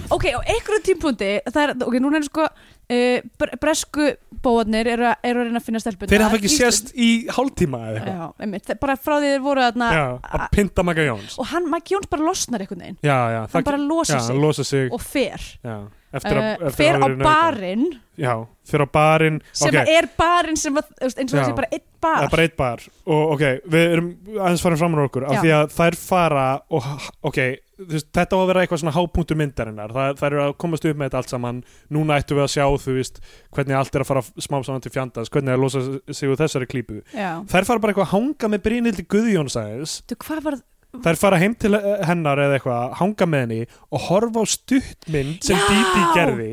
ok, á einhverjum tímpundi það er, ok, núna er sko uh, bre- bresku bóðarnir eru, að- eru að reyna að finna stelpunna þeir hafa ekki sést í hálftíma eða eitthvað Já, einmitt, þe- bara frá því þeir voru þarna já, að pynta Magga Jóns og hann, Maggi Jóns bara losnar einhvern veginn já, já, hann bara já, losa sig hann losa sig og fer já, eftir að, uh, fer á eftir að hafa verið nauðgað. barinn já, fyrir á barinn sem ok, er barinn sem að, þú veist, eins og Já. það sé bara einn það bar er bara eitt bar og ok, við erum aðeins farin fram úr okkur af Já. því að þær fara og ok, þú veist, þetta á að vera eitthvað svona hápunktu myndarinnar, það, þær eru að komast upp með þetta allt saman, núna ættum við að sjá þú veist, hvernig allt er að fara smám saman til fjandans hvernig að losa sig úr þessari klípu já, þær fara bara eitthvað að hanga með Brynildi Guðjónsæðis þú hvað var þær fara heim til eh, hennar eða eitthvað hanga með henni og horfa á stuttmynd sem Já! Díti gerði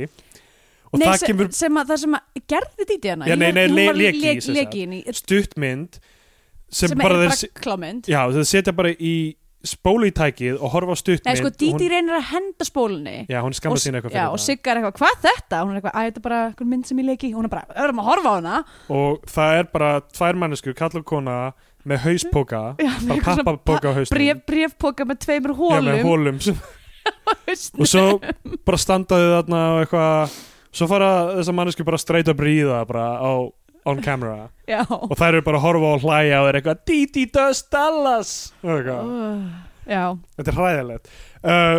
og nei, það sem, kemur sem að, það sem að gerði díti hana Já, nei, nei, le- léki í lekin sem sagt. í, stuttmynd sem, sem, bara er þeir bara klámynd Já, þau setja bara í spólu í tækið og horfa á stuttmynd Nei, sko, og Díti hún, reynir að henda spólunni Já, hún og, skamma sín eitthvað já, fyrir og það Sigga er eitthvað, hvað er þetta? Hún er eitthvað, að þetta er bara einhver mynd sem ég leiki Hún er bara, öðrum að horfa á hana Og það er bara tvær manneskur, kall og kona með hauspóka Já, með bara eitthvað svona pappapóka á hausnum Bréf, Bréfpoka með tveimur Já, hólum með hólum sem- hólum. Og svo bara standaðu þarna og eitthvað Svo fara þessar manneskur bara straight að bríða bara á on camera Já og þær eru bara að horfa og hlæja og er eitthvað Díti does Dallas og eitthvað Uh, Já, Þetta er hræðilegt uh,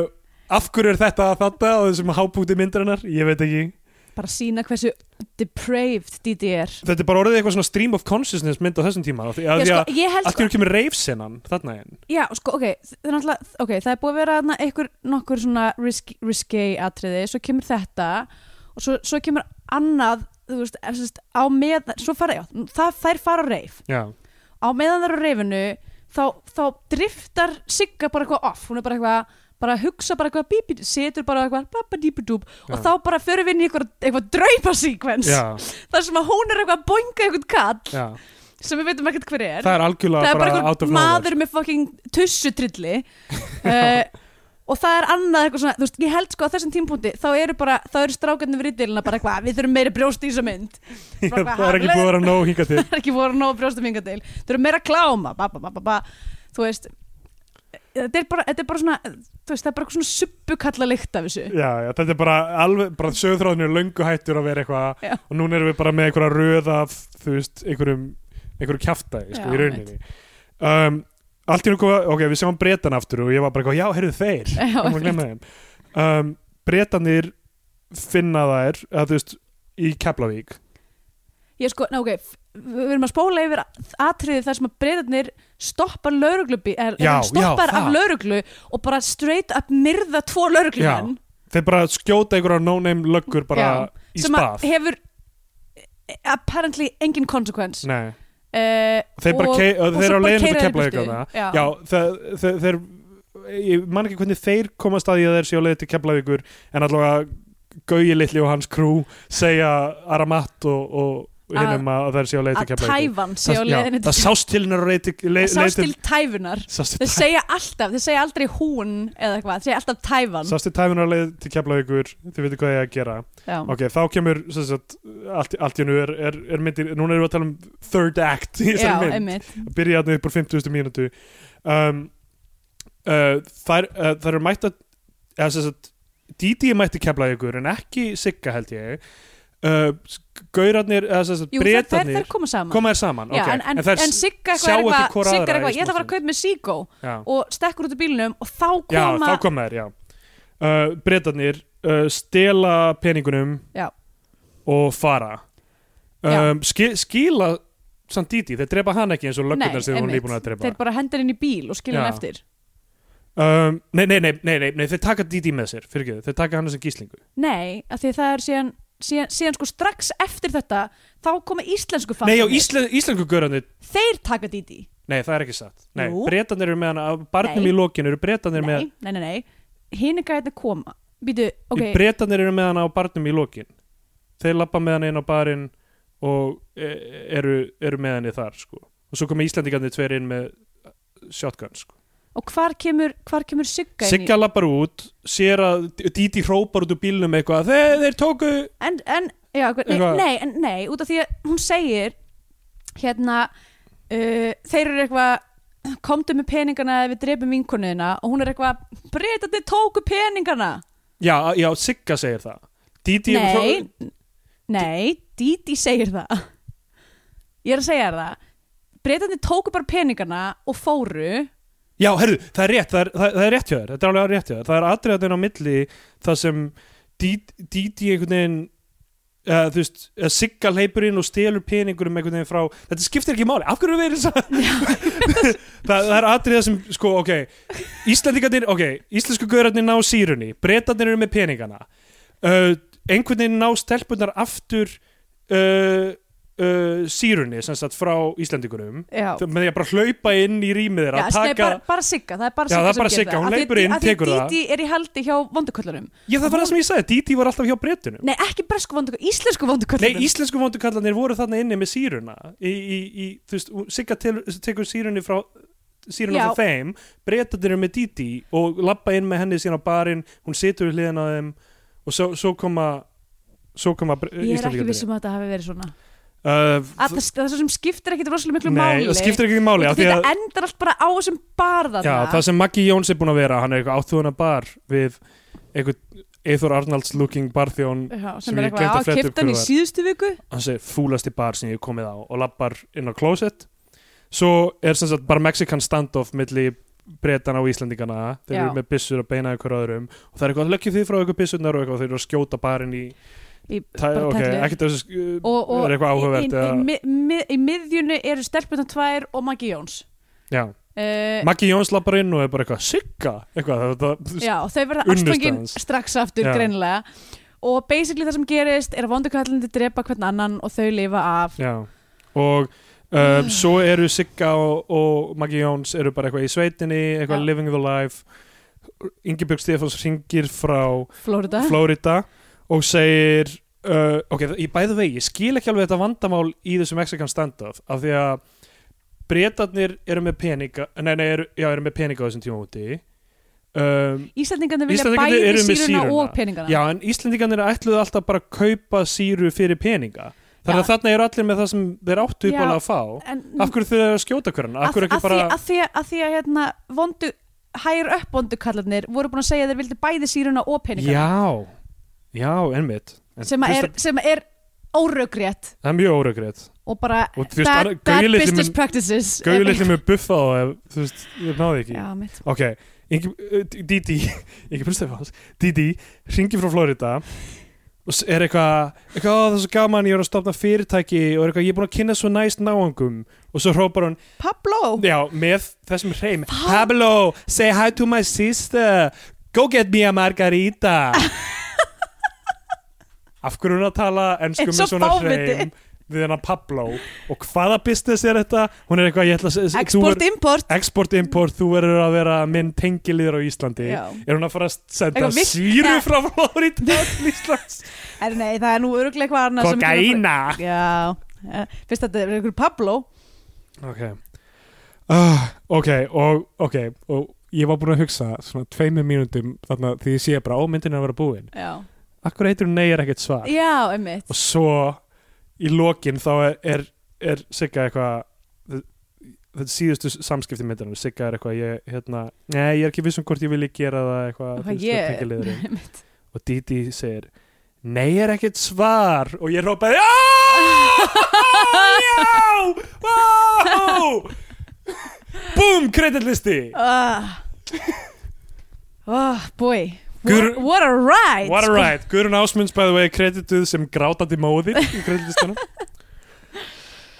Af hverju er þetta þetta á þessum hábúti myndarinnar? Ég veit ekki bara sína hversu depraved Díti er þetta er bara orðið eitthvað svona stream of consciousness mynd á þessum tíma af því Já, að, því sko, að ég held allt eru kemur reyfsinnan þarna einn Já, sko, ok, það er náttúrulega, ok, það er búið að vera þarna einhver nokkur svona risk, risky atriði, svo kemur þetta og svo, svo kemur annað, þú veist, eða sem sagt, á með, svo fara, já, það þær fara á reif, já, á meðan þær eru á reifinu, þá, þá driftar Sigga bara eitthvað off, hún er bara eitthvað, bara að hugsa bara eitthvað bíbí, setur bara eitthvað babadíbadúb og Já. þá bara förum við inn í eitthvað, eitthvað draupasíkvens, já, þar sem að hún er eitthvað að boinga eitthvað kall já. sem við veitum ekkert hver er það er algjörlega það er bara bara out einhver of nowhere maður með fucking tussutrilli uh, og það er annað eitthvað svona, þú veist, ég held sko að þessum tímpúndi þá eru bara, þá eru strákarnir við rítilina bara eitthvað, "Ah, við þurfum meiri brjóst í þessa mynd bara það er ekki búið að vera nóg hinga til það er ekki voru nóg brjóstum hinga til þau eru meira kláma, ba, ba, ba, ba, ba. þú veist eh, þetta er bara, þetta er bara svona þú veist, það er bara eitthvað svona subbukalla lykt af þessu já, já, þetta er bara alveg, bara sögþráðinu er löngu hættur að vera eitthvað Já. og núna erum við bara með einhverja röð af þú veist, einhverjum, einhverjum kjaftaði Já, sko, í rauninni um, allt í nú, ok, við sjáum breytan aftur og ég var bara eitthvað, já, heyrðu þeir Já, Ég má glemma þeim. um, breytanir finna þær, að þú veist í Keflavík ég sko, ná ok f- við erum að spóla yfir atriði þar sem að breyðarnir stoppar lauruglubi er, Já, já, stoppar af það. lauruglu og bara straight up myrða tvo lauruglumenn þeir bara skjóta einhverja no-name löggur bara í sem að spað hefur eh, apparently engin konsekvens uh, Nei. Þeir bara kei- og þeir þeir eru á leiðinni til Keflavíkur, já. Já, þeir, þeir, þeir ég man ekki hvernig þeir koma staði að þeir séu á leið til Keflavíkur en allavega Gauji litli og hans krú segja Aramat og, og Að- hinnum að þeir séu á leið til að Keflavíkur tæfan sé á Það- já, leiðinni það sást til hennar á leið til leið- það leið sást til- til tæfunar sást til þeir segja alltaf, þeir segja aldrei hún eða eitthvað, þeir segja alltaf tæfan sást til tæfinar á leið til Keflavíkur þið veitir hvað ég að gera já, ok, þá kemur sem sagt, allt, allt í nú er, er, er myndir núna erum við að tala um third act í já þessari mynd einmitt að byrja þarna upp úr 50. mínútu um, uh, þær, uh, þær eru mætt að eða sem sagt Didi er mætti kemla ykkur en ekki Sigga held ég uh, Gaurarnir, eða sem sagt Jú, þær, þær, Bretarnir þær koma saman koma þær saman já, ok. en, en, þær en Sigga sjá eitthvað, er ekki hvor eitthvað, Sigga aðra er í eitthvað ég ætla að fara að smástund. kaupa með Siggo já, og stekkur út úr bílnum og þá já, koma þá koma þær já. uh, Bretarnir uh, stela peningunum Já. og fara Já. um, ski, skila samt Didi, þeir drepa hann ekki eins og löggurnar sem hún einmitt. er búin að drepa þeir bara hendur inn í bíl og skilja hann Já. eftir Um, nei, nei, nei, nei, nei, nei, þeir taka Didi með sér, fyrir þeir taka hana sem gíslingu. nei, af því það er síðan síðan, síðan sko strax eftir þetta þá koma íslensku nei, já, fangarnir. íslen, íslensku görandi, þeir taka Didi nei, það er ekki satt. Nei, Jú. bretanir eru með hana, af barnum Nei. í lokinu eru bretanir með, nei, nei, nei, nei. hinn er gætið að koma Býtu, ok, bretanir eru með hana á barnum í lokin. Þeir lappa með hana inn á barinn og e, eru, eru með hana þar, sko. Og svo koma íslendingarnir tveir inn með shotgun, sko. og hvar kemur, hvar kemur Sigga inn í- Sigga lappar út, sér að Didi hrópar út úr bílnum eitthvað, þeir, þeir tóku... en, en, já, nei, Eitthvað- nei, en, nei, út af því að hún segir hérna uh, þeir eru eitthvað komdu með peningana eða við drefum vinkonuðina og hún er eitthvað, breytandi tóku peningana Já, já, Sigga segir það. Didi nei, nei Díti segir það ég er að segja þér það breytandi tóku bara peningana og fóru Já, herru, það er rétt, það er, það, það er rétt hjá þér, þetta er alveg rétt hjá þér. Það er atriðatinn á milli það sem Didi einhvern veginn, uh, þú veist, uh, Sigga hleypur inn og stelur peningurum einhvern veginn frá, þetta skiptir ekki máli, af hverju erum við erum saman? það, það er atriða sem, sko, ok, Íslandingarnir, ok, íslensku gaurarnir ná sírunni, bretarnir eru með peningana, uh, einhvern veginn ná stelpunar aftur uh, uh, sírunni, sem sagt, frá Íslandingurum. já, Þau- með því að bara hlaupa inn í já rýmið þeirra taka... taka, bara, bara sigga það er bara Já, sigga það er bara sem Sigga, hún hleypur inn, tekur það. Díti er í haldi hjá vonduköllunum ég það var það sem ég sagði, Didi var alltaf hjá breytunum nei, ekki bresku vonduköllunum, íslensku Nei, vonduköllunum íslensku vondukallanir voru þarna inni með síruna í, í, í, þú veist, hún- Sigga telur- tekur sírunni frá síruna Já. frá þeim breytandir eru með Didi og lappa inn með henni síðan á barinn, hún situr við hliðin á þeim og svo, svo koma svo koma bre- Ég er ekki viss Íslendingarnir um að þetta hafi verið svona uh, að það, það sem skiptir ekkit rosalega miklu Nei, máli það skiptir ekki máli Út af af því því að- Þetta endar allt bara á þessum barðana Já, það sem Maggi Jóns er búin að vera hann er eitthvað átþjóðuna bar við eitthvað Eithor Arnalds looking barþjón Já, sem, sem er ég gleymdi eitthvað að að fletta upp kipta hann í hver var. síðustu viku hann segir fúlasti bar sem ég hef komið á og lappar inn á klósett svo er sem sagt bara Mexikan standoff milli bretana og Íslandingana þeir Já. eru með byssur að beina ykkur öðrum og það er eitthvað að leggja því frá ykkur byssurnar og eitthvað þeir eru að skjóta barinn í í, tæ, bara ok, tellu. ekkert þessu sk- og, og er eitthvað áhugavert í, í, eða- mi, mi, í miðjunu eru stelpuna tvær og Maggi Jóns já. uh, Maggi Jóns lappar inn og er bara eitthvað sigga eitthvað það, það, Já, þau verða Unnusta ástfangin hans. strax aftur Já. greinilega og basically það sem gerist er að vondukallandi drepa hvern annan og þau lifa af Já, og um, svo eru Sigga og, og Maggi Jóns eru bara eitthvað í sveitinni, eitthvað Já. living the life Ingebjörg Stefáns ringir frá Florida Florida og segir uh, ok, í bæðu vegi, ég skil ekki alveg þetta vandamál í þessu Mexikan standoff af því að bretarnir eru með peninga, nei, nei, eru, já, eru með peninga á þessum tíma úti um, Íslandingarnir vilja Íslendingarnir bæði eru með síruna sýruna. og peningana já, en Íslendingarnir ætluðu alltaf bara að kaupa síru fyrir peninga þannig að Já. þarna eru allir með það sem þeir áttu Já. uppálega að fá En Af hverju þau eru að skjóta hverjana? Af að, hverju að, ekki bara... því, að, því, að því að hérna vondu higher up vondu kallarnir voru búin að segja að þeir vildi bæði síruna og peningana já, já, ennmitt. En sem, að þú er, veist sem að er óröggrétt Það er mjög óregrétt. og bara Og þú veist, bad, bara- bad gaulið sem business er- practices Gauði litli með buffa á ef, þú veist, þau náði ekki. já, mitt Ok, Ingi- uh, Didi, ekki búin stefans, Didi, ringi frá Florida og s- er eitthvað, eitthvað "Ó, það er svo gaman, ég er að stopna fyrirtæki og er eitthvað, ég er búin að kynna svo næst náangum og svo hrópar hún, Pablo já, með þessum hreim Pablo, say hi to my sister go get me a margarita af hverju er hún að tala ensku Eins með og svona fáviti. hreim við hennar Pablo og hvaða business er þetta hún er eitthvað, ég ætla að s- þú verð- Export, import export import, þú verður að vera minn tengiliður á Íslandi Já. er hún að fara að senda Eitthvað vik- síru Ja. frá Flórída til Íslands Er nei, það er nú öruglega eitthvað annað sem kemur kokaina frá- Já, eh, fyrst að þetta er einhver Pablo ok uh, ok, og, ok og ég var búin að hugsa svona tveimur mínúndum þarna því ég sé bara ómyndin að vera búin Já, akkur heitir hún nei er ekkert svar já einmitt og svo í lokin þá er, er, er Sigga eitthvað þ- þetta síðustu samskipti myndirinn Sigga er eitthvað, ég, hérna, nei, ég er ekki vissum hvort ég vilji gera það eitthvað Hvað þú veist, ég- tengiliðurinn." Einmitt. og Didi segir Nei, er ekkert svar og ég rópaði Já! Vá! Búm, kreditlisti Ah. Oh, boy Gur- What, what a ride What a sko. ride, Guðrun Ásmunds by the way kredituð sem grátandi móðir í kreditlistanum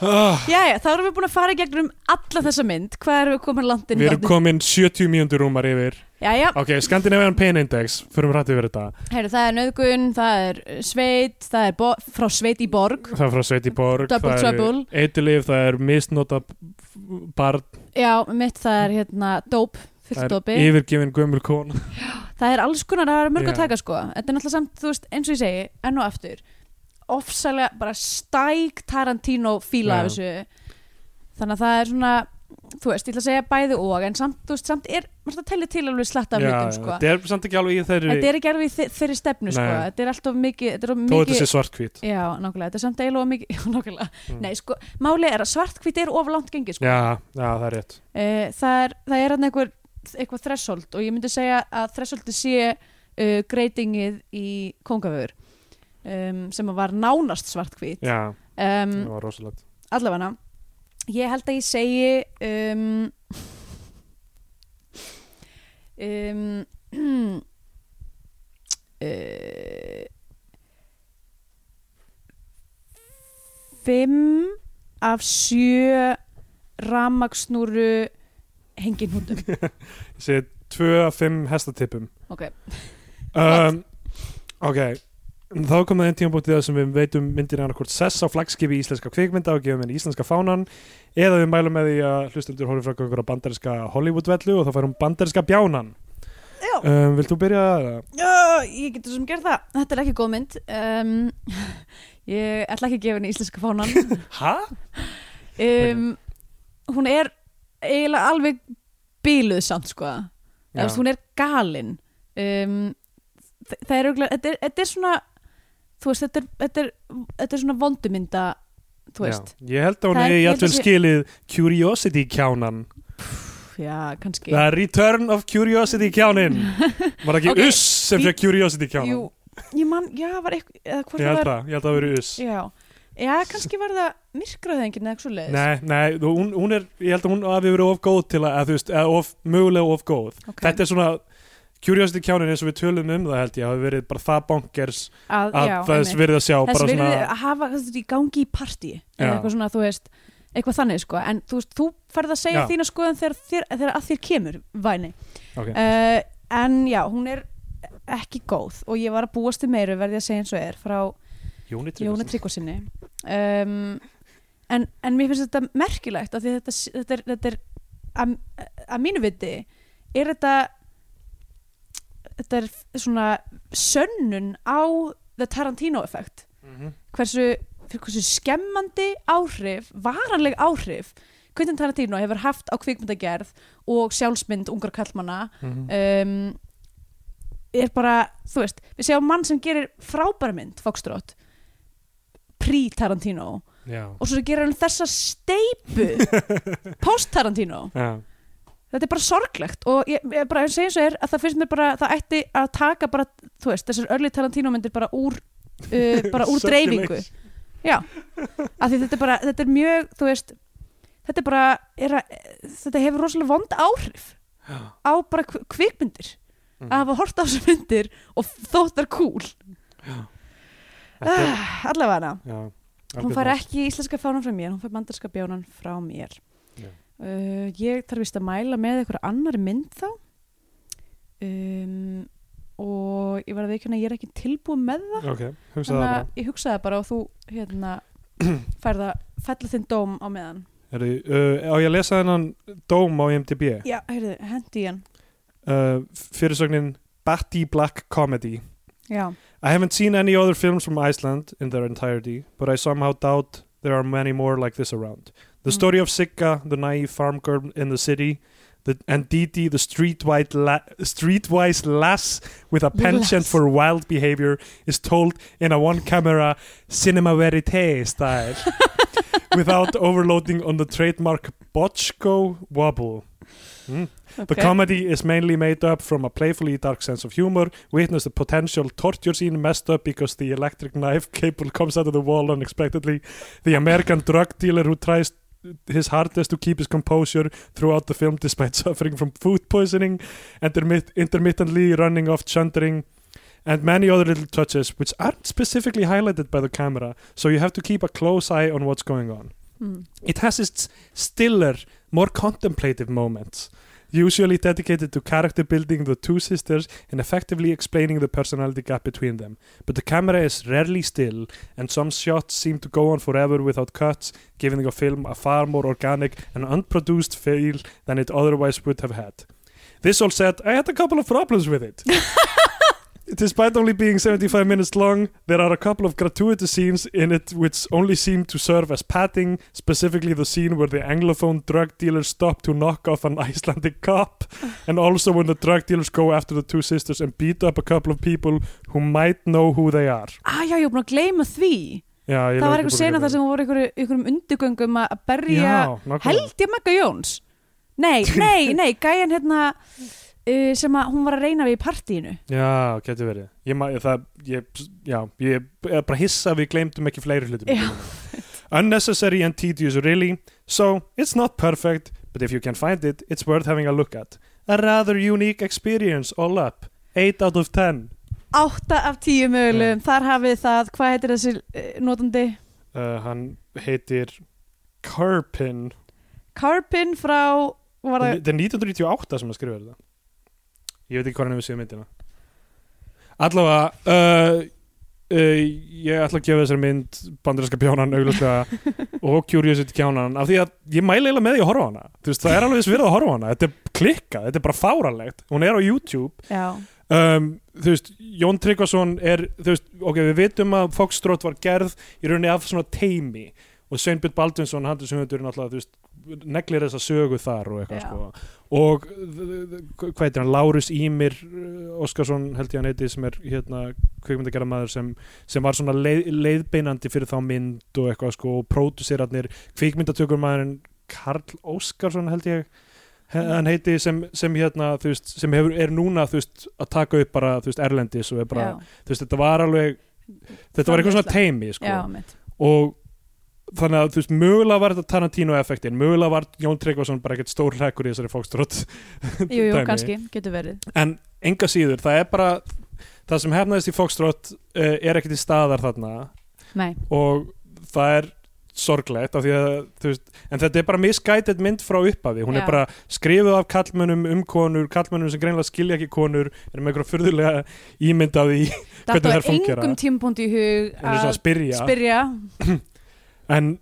ah, Jæja, þá erum við búin að fara í gegnum alla þessa mynd Hvað erum við komin langt inn í Við erum þáttinn? komin 70 mínútur rúmar yfir Jæja, Ok, Scandinavian Pain Index Förum rætt yfir þetta heyrðu, það er nöðgun, það er eh, sveit Það er bo- frá sveit í borg Það er frá Sveiti Borg Double Trouble. Eitilif, það er misnota barn Já, um mitt það er hérna dóp, fullt Það dópi er yfirgefin gömul kona það er alls konar, það er mörg Já. að taka sko þetta er náttúrulega samt, þú veist, eins og ég segi enn og aftur, ofsalega bara stæk Tarantino fíla Já. af þessu þannig að það er svona þú veist, ég ætla að segja bæði og en samt, þú veist, samt er, maður það telli til alveg slatt af hlutum sko, Þetta er samt ekki alveg í þeirri þetta er ekki alveg í þe- þeirri stefnu sko, Nei. þetta er alltaf mikið þetta er of Þó þetta mikið sé svartkvít Já, nákvæmlega, þetta er samt eiginlega of mikið, já, nákvæmlega, Mm. nei, sko, málið er að svartkvít er of langt gengið, sko, Já, já, það er rétt Eh, það er, það er hann einhver, eitthvað threshold og ég myndi segja að thresholdi sé uh, greitingið í kongaföður um, sem að var nánast svartkvít Já, um, það var rosalegt allavega ég held að ég segi um, um, uh, fimm af sjö ramaksnúru hengin húndum Ég segi 2 af 5 hestatippum ok, um, Ok Þá kom það einn tímabótið það sem við veitum myndir annað hvort sess á flagskipi íslenska kvikmynda og gefum henni íslenska fánan eða við mælum með því að hlustundur horfum frá einhverja bandarinska Hollywood-vellu og þá færum bandarinska bjánan já um, Vilt þú byrja að Já, ég getur sem gerð það Þetta er ekki góð mynd um, Ég ætla ekki að gefa henni íslenska fánan Hæ? um, Hún er eiginlega alveg bíluð samt sko Já. Eðast, Hún er galin um, þ- Það er auðvitað þetta, er- þetta er svona Þú veist, þetta er, þetta er, þetta er svona vondumynda Þú veist, Já, Ég held að hún Það er- hefði ég í held að allveg sé- skilið Curiosity kjánan já, kannski The Return of Curiosity kjánin Var ekki Ok. Uss sem fyrir Curiosity kjánan Jú, ég man, já, var eitthvað eða hvort Ég held það var, það, ég held það að vera Uss já Já, kannski var það myrkraðengin eða eitthvað svo leiðis Nei, nei, þú- hún, hún er, ég held að hún hafi verið of góð til að, að þú veist, eða of, mögulega of góð Þetta er svona, Curiosity kjánin eins og við tölum um það held ég hafi verið bara það bonkers að, að já, það einmitt. er verið að sjá þess bara verið svona, að hafa þetta í gangi í partí Já. eða eitthvað svona þú veist eitthvað þannig sko, en þú veist, þú ferð að segja Já. þína skoðan þegar, þér, þegar að þér kemur væni, ok, uh, en já hún er ekki góð og ég var að búast til meiru verði að segja eins og er frá Jóni Jóni Tryggvason Tryggvasinni um, en, en mér finnst þetta merkilegt af því þetta, þetta er, þetta er að, að mínu viti er þetta þetta er svona sönnun á the Tarantino effekt Mhm. hversu, fyrir hversu skemmandi áhrif, varanleg áhrif Quentin Tarantino hefur haft á kvikmyndagerð og sjálfsmynd ungar kallmanna Mhm. um, er bara, þú veist við séum mann sem gerir frábæra mynd Foxtrot pre-Tarantino Já, og svo gerir hann þessa steipu post-Tarantino já, þetta er bara sorglegt og ég, ég bara ég segi svo er að það finnst mér bara það ætti að taka bara, þú veist, þessar örli Tarantino myndir bara úr, uh, bara úr dreifingu já, af því þetta er bara þetta er mjög, þú veist þetta er bara, er að, þetta hefur rosalega vond áhrif Já. á bara kv- kvikmyndir Mhm. að hafa hort á þessu myndir og þótt þar cool Þetta er- Ah, allavega hana já, hún algjört fær mál. ekki íslenska fánan frá mér, hún fær bandarska bjánan frá mér Já. uh, ég þarf vist að mæla með eitthvað annar mynd þá um, og ég var að veikjana að ég er ekki tilbúin með það Ok, hugsaðu það bara að ég hugsaði bara og þú hérna færða fella þinn dóm á meðan Heru, uh, Á ég að lesa þennan dóm á IMDb já, heyrðu, hendi í hann uh, Fyrirsögnin Batty Black Comedy já, I haven't seen any other films from Iceland in their entirety, but I somehow doubt there are many more like this around. The Mm. story of Sikka, the naive farm girl in the city, the, and Diti, the streetwise, la- streetwise lass with a penchant Lass. for wild behavior, is told in a one camera cinema verite style without overloading on the trademark Botchko wobble. Mm. The ok comedy is mainly made up from a playfully dark sense of humor. Witness the potential torture scene messed up because the electric knife cable comes out of the wall unexpectedly. The American drug dealer who tries his hardest to keep his composure throughout the film despite suffering from food poisoning and intermit- intermittently running off chuntering and many other little touches which aren't specifically highlighted by the camera so you have to keep a close eye on what's going on mm. it has its stiller, more contemplative moments, usually dedicated to character building the two sisters and effectively explaining the personality gap between them. But the camera is rarely still, and some shots seem to go on forever without cuts, giving the film a far more organic and unproduced feel than it otherwise would have had. This all said, I had a couple of problems with it. Despite only being 75 minutes long, there are a couple of gratuitous scenes in it which only seem to serve as padding, specifically the scene where the Anglophone drug dealers stop to knock off an Icelandic cop, and also when the drug dealers go after the two sisters and beat up a couple of people who might know who they are. ah, já, ég er búin að gleyma því Já, ég það er var ekki einhver búin sena að þar gera sem hún voru einhverju- einhverjum undirgöngum að að það. berja Já, nákvæmlega. held ég Magga Jóns nei, nei, nei, gæjan hérna uh, sem að hún var að reyna við í partíinu Já, getur verið. Ég, ma- það, ég, já, ég er bara hissa að við gleymdum ekki fleiri hlutum. Já. Unnecessary and tedious really, so it's not perfect, but if you can find it, it's worth having a look at. A rather unique experience all up. 8 out of 10. 8 af 10 mögulegum, þar hafið það hvað heitir þessi uh, notandi Uh, hann heitir Carpin. Carpin frá var það, Þetta er 1998 sem að skrifa þetta. Ég veit ekki hvað hann hefur séð myndina. Allavega, uh, uh, ég ætla að gefa þessari mynd bandarinska bjánan auglustlega og Curiosity kjánan af því að ég mæli eiginlega með því að horfa á hana. Þú veist, það er alveg svirð að horfa á hana. Þetta er klikkað, þetta er bara fáralegt. Hún er á YouTube já, um, þú veist, Jón Tryggvason er, þú veist, ok, við vitum að Foxtrot var gerð í rauninni af svona teimi og Sveinbjörn Baldvinsson hann til sögundurinn alltaf, þú veist neglir þessa sögu þar og eitthvað Já. sko og uh, hvað heitir hann, Lárus Ímir uh, Óskarsson held ég hann heiti sem er hérna kvikmyndagerðamaður sem, sem var svona leið, leiðbeinandi fyrir þá mynd og eitthvað sko og pródusirarnir, kvikmyndatökurmaðurinn Karl Óskarsson held ég he- hann heiti sem, sem hérna þú veist, sem hefur, er núna þú veist að taka upp bara þú veist Erlendis og er bara, já, þú veist þetta var alveg þetta var eitthvað svona teimi sko já, mitt og þannig að þú veist mögulega var þetta Tarantino effektin, mögulega var Jón Tryggvason bara ekkert stór hlækur í þessari fólkstrótt jú, jú, Dæmi. kannski, getur verið en enga síður, það er bara það sem hefnaðist í fólkstrótt uh, er ekkert í staðar þarna nei, og það er sorglegt af því að þú veist, en þetta er bara misgætið mynd frá upphafi hún Já. er bara skrifuð af kallmönnum um konur, kallmönnum sem greinlega skilja ekki konur er með einhverja furðulega ímynd af því þetta Hvernig þær var fúnkera? engum tímpúnd í hug hún er svona að að spyrja, spyrja en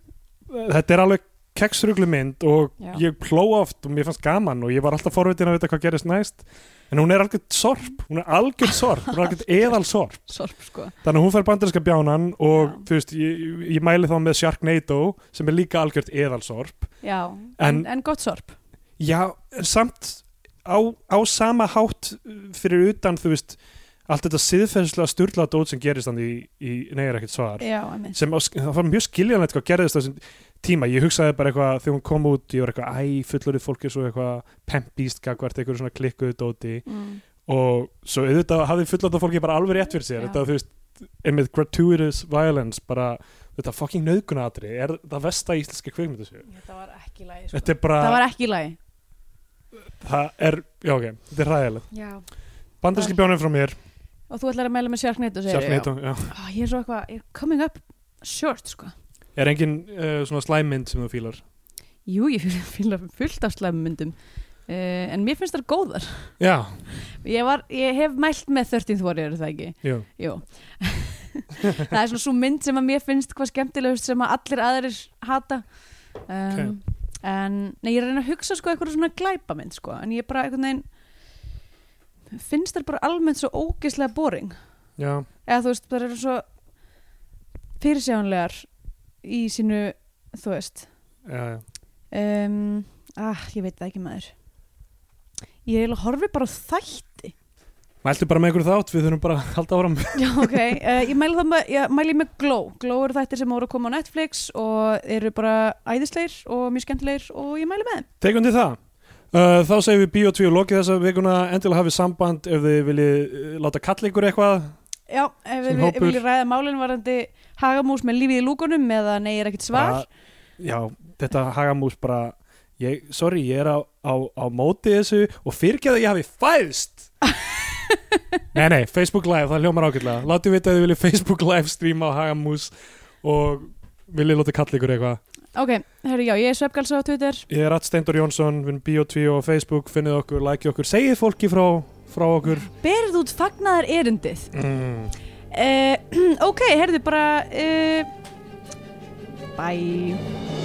uh, þetta er alveg keksruglu mynd og Já. ég pló oft og mér fannst gaman og ég var alltaf forvitin að vita hvað gerist næst en hún er algjörð sorp, hún er algjörð sorp hún er algjörð eðal sorp sorp sko, þannig að hún fær bandarinska bjánan og Já. þú veist, ég, ég mæli þá með Sharknado sem er líka algjörð eðal sorp já, en, En- en gott sorp já, en samt á, á sama hátt uh, fyrir utan þú veist, allt þetta siðferðslega styrla dót sem gerist hann í, í neyra ekkert svar já, einmitt, sem á, það var mjög skiljanlegt hvað gerðist á þessum tíma, ég hugsaði bara eitthvað þegar hún kom út, ég var eitthvað, æ, fullorðið fólk er svo eitthvað pempíst gagvart, eitthvað svona klikkuðu dóti mm, og svo auðvitað hafði fullorðið fólki bara alveg rétt fyrir sér, Já. þetta þú veist einmitt gratuitous violence, bara þetta fucking nöðgunatri, er það vesta í íslenska kvikmyndu þetta var ekki sko. lægi þetta er það bara, var ekki lægi það er já ok, þetta er ræðilegt, já bandarski bjónum frá mér og þú ætlar að mæla með Sharknado segirðu, Sharknado, já. já. Ó, Ah, ég er svo eitthvað, ég er coming up short sko Er engin uh, svona slæmynd sem þú fílar? jú, ég fylg- fylg fullt af slæmum myndum uh, en mér finnst þar góðar Já, ég, var, ég hef mælt með 13 þvori eru það ekki já. Jú Það er svona svo mynd sem að mér finnst hvað skemmtilegust sem að allir aðrir hata um, En nei, ég er að reyna að hugsa sko eitthvað svona glæpamynd sko En ég bara einhvern veginn finnst þér bara almennt svo ógeðslega boring já. Eða þú veist, það eru svo fyrirsjáanlegar í sínu, þú veist Já, já. um, Ah, ég veit það ekki maður Ég eiginlega horfi bara á þætti Mæltu bara með einhverju þátt, við þurfum bara að halda áram Já, ok. Uh, ég mæli það með, ég mæli með Glow. Glow eru þættir sem voru að koma á Netflix og eru bara æðisleir og mjög skemmtilegir og ég mæli með þeim. Tekum til það Uh, þá segjum við Bíó 2 og lokið þessa vikuna endilega hafið samband ef þið viljið uh, láta kalla ykkur eitthvað Já, ef Sem við hópur. við viljum ræða málinn varandi hagamús með lífið í lúkunum eða nei, er ekkert svar. Bara- Já, þetta hagamús bara ég, sorry, ég er á, á, á móti þessu og fyrirgeðu að ég hafi fæðst Nei, nei, Facebook Live það hljómar ágætlega, látið vita að þið viljið Facebook Live streama á hagamús og viljið láta kalla ykkur eitthvað Ok, herru, já, ég er Svepgalsa á Twitter. Ég er Ratt Steindor Jónsson, við erum Bíó 2 og Facebook, finnið okkur, likeið okkur, segið fólki frá, frá okkur Berð út Eh, fagnaðar erindið. mm. eh, Uh, ok, herðu bara, uh, bye.